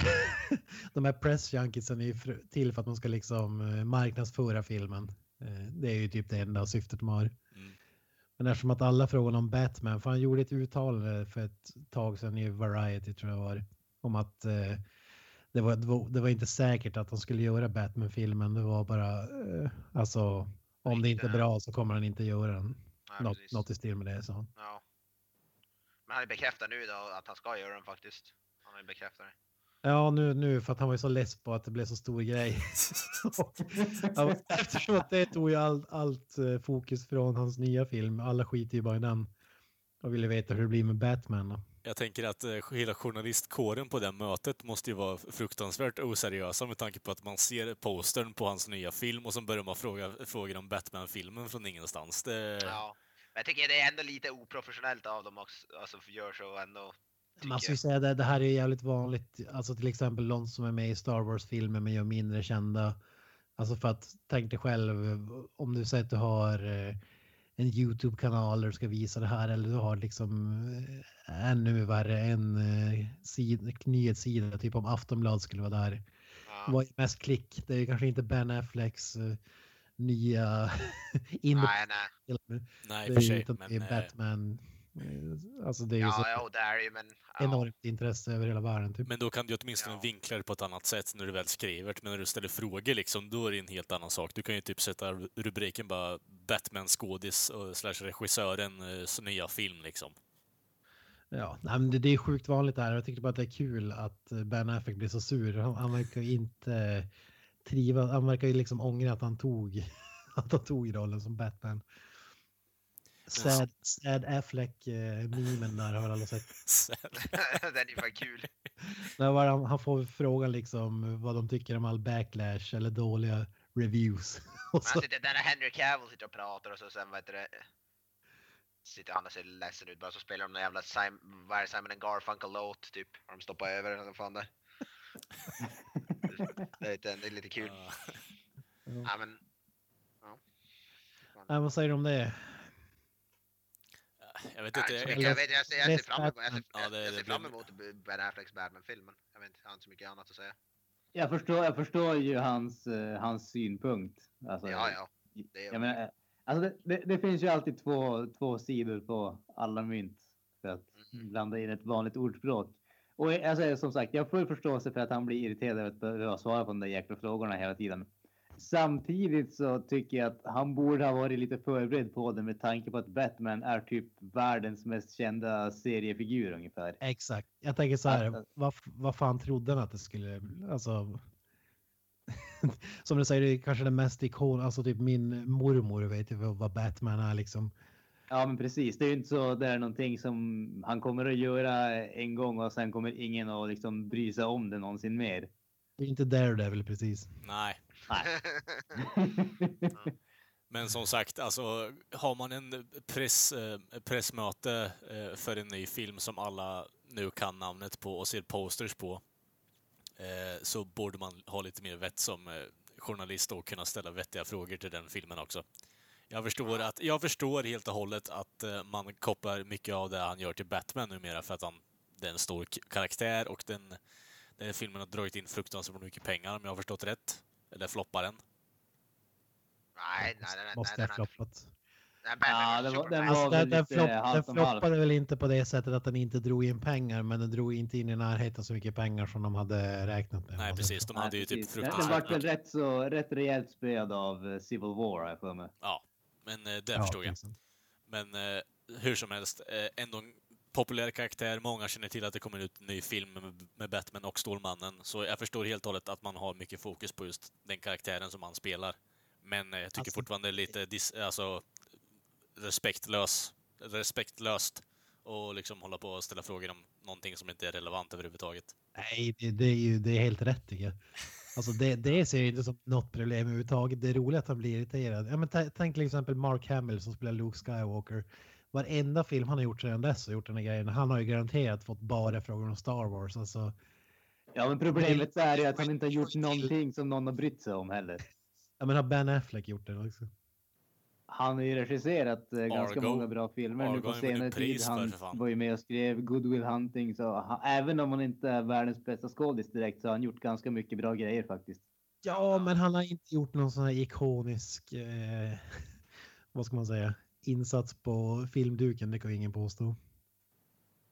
D: (laughs) de här press junkiesen är ju fr- till för att man ska liksom eh, marknadsföra filmen. Eh, Det är ju typ det enda syftet de har.
A: Mm.
D: Men eftersom att alla frågade om Batman, för han gjorde ett uttalande för ett tag sedan i Variety tror jag var, om att eh, det var, det var- det var inte säkert att han skulle göra Batman-filmen. Det var bara, eh, alltså, om det inte är bra så kommer han inte göra den.
B: Ja,
D: Något,
B: precis.
D: något i stil med det, sa han.
B: Ja. Men han är bekräftad nu då att han ska göra den faktiskt. Han har ju bekräftat det.
D: Ja, nu, nu för att han var ju så less på att det blev så stor grej. (laughs)
A: (laughs)
D: Och- ja, Eftersom att det tog ju allt, allt eh, fokus från hans nya film. Alla skiter ju bara i den. Och ville veta hur det blir med Batman. då.
A: Jag tänker att eh, hela journalistkåren på det här mötet måste ju vara fruktansvärt oseriösa med tanke på att man ser postern på hans nya film och sen börjar man fråga frågor om Batman-filmen från ingenstans. Det,
B: Ja. Men jag tycker det är ändå lite oprofessionellt av dem också. Alltså gör så ändå. tycker
D: Man ska ju
B: jag.
D: säga det, det här är jävligt vanligt. Alltså till exempel de som är med i Star Wars-filmer men gör mindre kända. Alltså för att tänk dig själv om du säger att du har eh, en YouTube-kanal där du ska visa det här eller du har liksom eh, ännu värre en eh, sid- nyhetssida, typ om Aftonbladet skulle vara där.
B: Ja.
D: Vad är mest klick? Det är kanske inte Ben Afflecks eh, nya (laughs)
B: Nej, nej.
D: indie-film. Det
A: nej, i och för
D: är ju
A: sig.
D: utan det
A: Men,
D: är
A: eh,
D: Batman. eh, Alltså det är ju så
B: Ja, ja, det är ju men. Ja.
D: enormt intresse över hela världen. Typ.
A: men då kan du ju åtminstone
B: Ja.
A: vinkla det på ett annat sätt när du väl skriver det. Men när du ställer frågor liksom, då är det en helt annan sak. Du kan ju typ sätta ru- rubriken bara Batman-skådis och slash regissören eh, s- nya film liksom. (laughs)
D: Ja, nej, men det, det är sjukt vanligt där. Jag tyckte bara att det är kul att eh, Ben Affleck blir så sur. Han, han verkar ju inte trivas. Han verkar ju liksom ångra att han tog, (laughs) att han tog rollen som Batman. Sad, sad Affleck-memen där har alla sett.
A: Sen-
B: (laughs) Den är ju fan kul.
D: Där var han, han får frågan liksom vad de tycker om all backlash eller dåliga reviews. (laughs) Och
B: Men
D: så,
B: han sitter Alltså, där när Henry Cavill sitter och pratar och så sen vad heter det. Sitter han och ser ledsen ut bara så spelar de någon jävla Simon, vad är det, Simon and Garfunkel låt typ. Har de stoppat över eller vad fan det är. Det är lite, det är lite kul.
A: Ja.
B: Ja, men,
D: nej, vad säger du om det?
A: Jag vet
B: ja,
A: inte.
B: inte så
A: jag-
B: mycket. jag, vet, jag, ser, jag, ser
D: Mest
B: fram emot, jag, ser,
D: Batman.
A: Ja, det-
B: jag
A: det
B: ser fram
A: blir-
B: emot Ben Afflecks Batman-filmen. Jag, vet inte, jag har inte så mycket annat att säga.
C: Jag förstår, jag förstår ju hans, eh, hans synpunkt. Alltså,
B: Ja, ja. det är-
C: Jag menar, eh, alltså det, det, det finns ju alltid två, två sidor på alla mynt för att
B: Mm.
C: blanda in ett vanligt ordspråk. Och eh, alltså, som sagt, jag har full förståelse för att han blir irriterad över att behöva svara på de där jäkla frågorna hela tiden. Samtidigt så tycker jag att han borde ha varit lite förberedd på det med tanke på att Batman är typ världens mest kända seriefigur ungefär.
D: Exakt. Jag tänker så här,
C: Alltså-
D: vad, vad fan trodde han att det skulle, alltså. (laughs) som du säger, det är kanske den mest ikon, alltså typ min mormor vet ju vad vad Batman är liksom.
C: Ja, men precis. Det är ju inte så det är någonting som han kommer att göra en gång och sen kommer ingen att liksom bry sig om det någonsin mer.
D: Det är inte Daredevil precis.
A: Nej. Men som sagt, alltså, har man en press, eh, pressmöte eh, för en ny film som alla nu kan namnet på och ser posters på, eh, så borde man ha lite mer vett som eh, journalist och kunna ställa vettiga frågor till den filmen också. Jag förstår, att, jag förstår helt och hållet att eh, man kopplar mycket av det han gör till Batman numera för att han det är en stor k- karaktär och den, den här filmen har dragit in fruktansvärt mycket pengar om jag har förstått rätt. Eller floppar den.
B: Nej, nej, nej. nej,
D: Måste
B: nej,
D: ha
B: nej.
D: floppat.
B: Nej, Batman
C: Ja,
B: vs
C: det var-
B: Superman.
C: den
D: Alltså,
C: var väl
D: den, den,
C: lite
D: flopp, den
C: halvt om halvt.
D: floppade väl inte på det sättet att den inte drog in pengar, men den drog inte in i närheten så mycket pengar som de hade räknat med. Alltså,
A: Nej
D: Och det-
A: precis, de
C: Nej,
A: hade ju typ
C: precis. Den- Den
A: fruktansvärt
C: vart väl
A: mycket.
C: rätt, så, rätt rejält spöad av eh, Civil War har jag för mig.
A: Men eh, det
D: Ja,
A: förstod jag.
D: liksom.
A: Men eh, hur som helst, eh, ändå en populär karaktär. Många känner till att det kommer ut en ny film med, med Batman och Stålmannen. Så jag förstår helt och hållet att man har mycket fokus på just den karaktären som han spelar. Men eh, jag tycker
D: Alltså-
A: fortfarande det är lite dis- alltså, respektlös, respektlöst och liksom hålla på och ställa frågor om någonting som inte är relevant överhuvudtaget.
D: Nej, det, det är ju det är helt rätt tycker jag. Alltså det, det ser jag inte som något problem överhuvudtaget. Det är roligt att han blir irriterad. Ja, men ta- tänk till exempel Mark Hamill som spelar Luke Skywalker. Varenda film han har gjort sedan dess har gjort den här grejen. Han har ju garanterat fått bara frågor om Star Wars. Alltså,
C: Ja, men problemet är ju att han inte har gjort någonting som någon har brytt sig om heller.
D: jag menar Ben Affleck gjort det liksom? också.
C: Han har ju regisserat eh, ganska
A: Argo.
C: många bra filmer nu
A: Argo
C: på
A: har ju vunnit
C: senare tid.
A: pris för,
C: Han
A: för fan.
C: var ju med och skrev Good Will Hunting, så han, även om han inte är världens bästa skådis direkt så har han gjort ganska mycket bra grejer faktiskt.
D: Ja, men han har inte gjort någon sån här ikonisk, eh, (laughs) vad ska man säga, insats på filmduken. Det kan ju ingen påstå.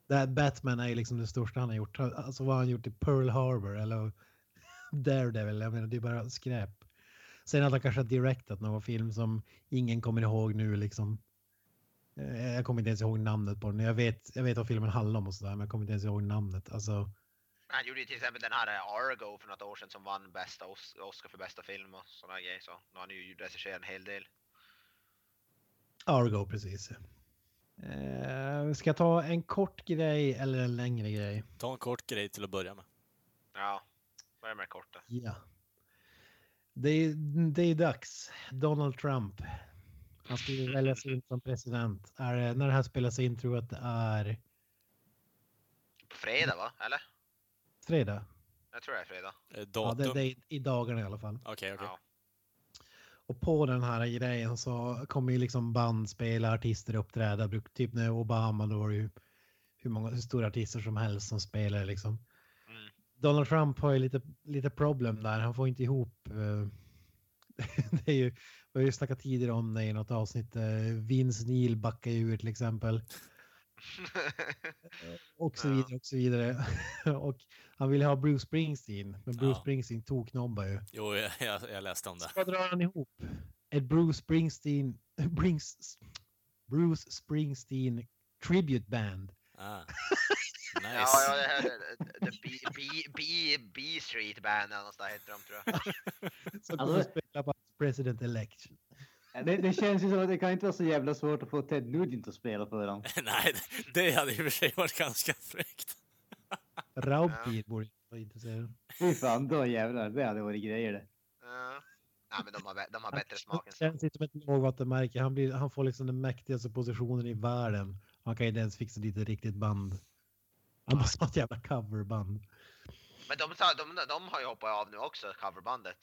D: Det här Batman är ju liksom det största han har gjort. Alltså vad har han gjort i Pearl Harbor eller (laughs) Daredevil. Jag menar, det är bara skräp. Sen att han kanske har directat någon film som ingen kommer ihåg nu liksom. Eh, Jag kommer inte ens ihåg namnet på den. Jag vet, jag vet vad filmen handlar om och sådär, men jag kommer inte ens ihåg namnet. Alltså,
B: Han gjorde ju till exempel den här eh, Argo för något år sedan som vann bästa Os- Oscar för bästa film och sådana grejer. Så nu har han ju regisserat en hel del.
D: Argo, precis. Eh, ska jag ta en kort grej eller en längre grej?
A: Ta en kort grej till att börja med.
B: Ja, börja med det korta.
D: Ja. Det är, det är dags. Donald Trump. Han ska ju väljas in som president. Är, det- när det här spelas in tror jag att det är
B: På fredag va? Eller?
D: fredag.
B: Jag tror det är fredag. (laughs)
A: Eh,
D: Ja,
A: Datum?
D: det, det är i dagarna i alla fall.
A: Okej, okej.
B: Ja.
D: Och på den här grejen så kommer ju liksom band, spela, artister uppträda. Bruk- Typ när Obama då var det ju hur många hur stora artister som helst som spelade liksom.
B: Mm.
D: Donald Trump har ju lite, lite problem där. Han får inte ihop. eh, (laughs) det är ju, vi har ju snackat tidigare om det i något avsnitt. eh, Vince Neil backar ju ur till exempel. Och så
B: Ja.
D: vidare och så vidare. (laughs) och han ville ha Bruce Springsteen. Men Bruce
A: Ja.
D: Springsteen toknobbar ju.
A: Jo, jag, jag, jag läste om det.
D: Så vad drar han ihop? Ett Bruce Springsteen, (laughs) Brings, Bruce Springsteen tribute band.
B: (laughs)
A: Ah.
B: ja, ja,
A: Nice.
B: det här, eh, the B, B, B, B Street Band eller något sånt där heter de tror jag.
D: Som
C: Alltså-
D: kommer att spela på President Elect.
C: Det, det känns ju som att det kan inte vara så jävla svårt att få Ted Nugent att spela för honom.
A: (laughs) Nej, det- det hade i och för sig varit ganska fräckt.
D: Raubpier borde vara intresserad.
C: Fy fan, då jävlar, det hade varit grejer det.
B: Ja. Nej men de har, bä- de har bättre smak
D: Det
B: än så.
D: känns inte som ett lågvattenmärke. Han, blir, han får liksom den mäktigaste positionen i världen. Han kan inte ens fixa dit ett riktigt band. Han måste ha ett jävla coverband.
B: Men de, sa, de, de har ju hoppat av nu också, coverbandet.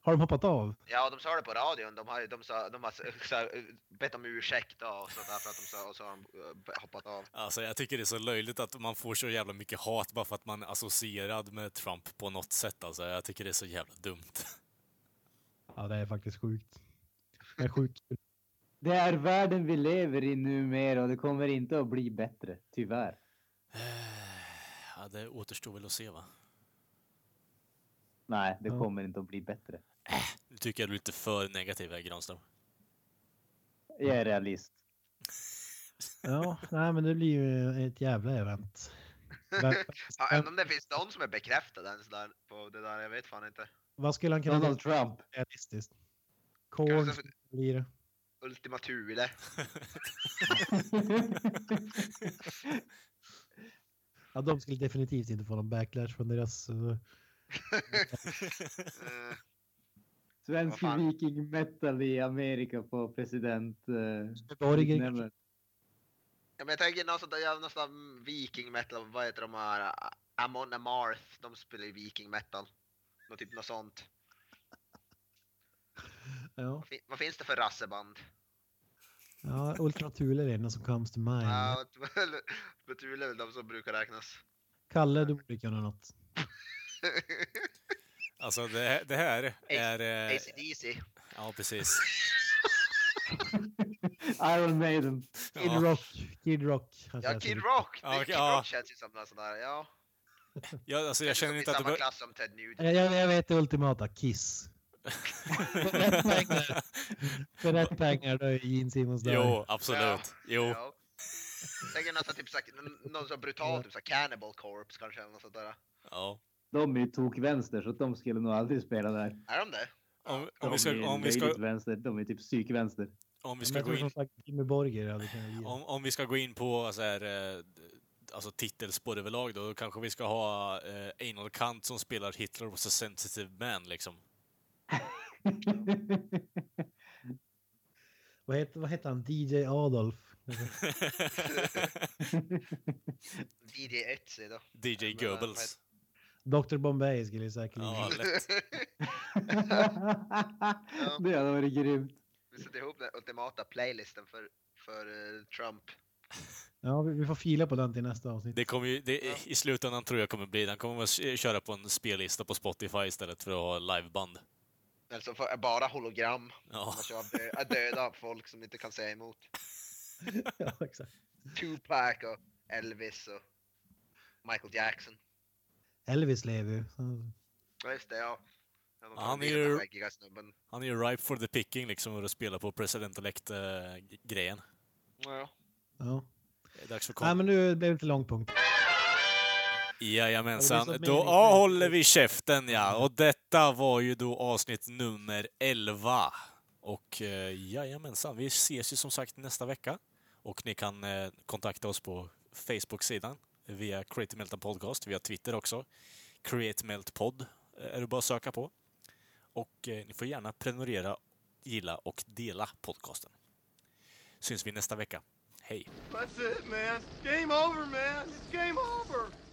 D: Har de hoppat av?
B: Ja, de sa det på radion. De har, de sa, de har s- sa, bett om ursäkt och sånt där för att de sa, och så har de eh, hoppat av.
A: Alltså, jag tycker det är så löjligt att man får så jävla mycket hat bara för att man är associerad med Trump på något sätt. Alltså, jag tycker det är så jävla dumt.
D: Ja, det är faktiskt sjukt. Det är sjukt.
C: Det är världen vi lever i numera och det kommer inte att bli bättre, tyvärr.
A: (sighs) Ja, det återstår väl att se, va?
C: Nej, det
D: Ja.
C: kommer inte att bli bättre.
A: Nu tycker jag du är lite för negativ här, Granström. (laughs)
C: Jag är realist.
D: Ja, nej, men det blir ju ett jävla event.
B: Ja, även om det finns någon som är bekräftad ens där på det där, jag vet fan inte.
D: Vad skulle han kunna
C: Donald Trump.
D: realistiskt. Korn
B: Kanske-
D: blir det.
B: Ultima Thule. (laughs)
D: Ja, de skulle definitivt inte få någon backlash från deras... eh,
B: Eh, Vad
C: Svensk
B: fan?
C: viking metal i Amerika på president... eh,
D: Borger.
C: utnämningen.
B: ja, men jag tänker någon sån där jävla någon sån där viking metal, vad heter de här? Amon Amarth, de spelar ju viking metal. Något, typ, något sånt.
D: Ja.
B: Fin- Vad finns det för rasseband?
D: Ja, Ultra Thule är det enda som comes to mind.
B: Ja, (laughs) men Thule är väl de som brukar räknas.
D: Kalle, du borde kunna något.
A: Eh,
B: (laughs)
A: Alltså det, det här är... eh,
B: ACDC.
A: Ja, precis.
C: Iron Maiden.
D: Kid
A: Ja,
D: Rock. Kid Rock. kanske
B: Ja,
D: jag
B: Kid
D: säger.
B: Rock!
A: Ja,
B: Det-
A: okej,
B: Kid
A: ja.
B: Rock känns ju som någon sån där, ja.
A: jag, alltså, jag känner
B: Som
A: inte
B: i
A: att det
B: samma
A: bör...
B: klass som Ted Nugent.
D: Jag, jag, jag vet det ultimata. Kiss.
A: (laughs)
D: Rätt pengar. För rätt pengar då är Gene Simmons död.
A: Jo, absolut. Jo.
B: Ja. Tänker någon som typ såhär, n- någon som brutal, typ såhär Cannibal Corpse kanske eller något sånt där.
A: Ja.
C: De är ju tokvänster så de skulle nog aldrig spela där.
B: Är de det?
A: Om,
C: De
A: om, vi
C: är
A: ska, om, vi
C: löjligt
A: ska,
C: vänster. De är typ psykvänster.
A: om vi
D: Men
A: ska
D: jag
A: gå
D: tror som
A: in
D: sagt Jimmy Borger hade kunnat ge.
A: om, om vi ska gå in på så här, eh, alltså titelspår överlag då, då kanske vi ska ha eh, Anal Kant som spelar Hitler was a sensitive man liksom. (laughs)
D: Vad heter, vad heter han? DJ
B: (laughs)
D: Adolf?
B: DJ Etsy då.
A: DJ
B: men eh, Mm. vad
A: Goebbels.
D: Dr Bombay skulle jag säkert
A: Ja,
B: (laughs)
D: ja.
A: lätt. (laughs)
C: det hade varit grymt.
B: Vi sätter ihop den ultimata playlisten för, för eh, Trump.
D: ja, vi, vi får fila på den till nästa avsnitt. (laughs)
A: Det kommer ju,
B: Ja.
A: det, I slutändan tror jag kommer bli, den kommer att köra på en spellista på Spotify istället för att ha liveband.
B: Alltså för, bara hologram. Alltså,
A: Ja.
B: Man kör dö- att döda folk som inte kan säga emot.
D: ja, exakt.
B: Tupac och Elvis och Michael Jackson.
D: Elvis lever ju. så-
B: Ja just det ja. Ja, de
A: Ja, han är
B: kan bli den
A: ju-
B: där skäggiga snubben.
A: Han är ju ripe for the picking liksom, och att spela på president-elect-grejen.
B: Ja.
D: Ja.
A: Det är dags för
D: Nej,
A: kom.
D: men nu blev det lite lång punkt. Ja, det
A: Jajamensan,
D: blir så
A: då
D: meningslöst.
A: ah, håller vi käften ja! Och detta var ju då avsnitt nummer 11. Och eh, jajamensan, vi ses ju som sagt nästa vecka. Och ni kan eh, kontakta oss på Facebook-sidan via Create Meltdown Podcast, via Twitter också. Create Melt Pod eh, är det bara att söka på. Och eh, ni får gärna prenumerera, gilla och dela podcasten. Syns vi nästa vecka. Hej!
G: That's it, man. Game over, man. It's game over.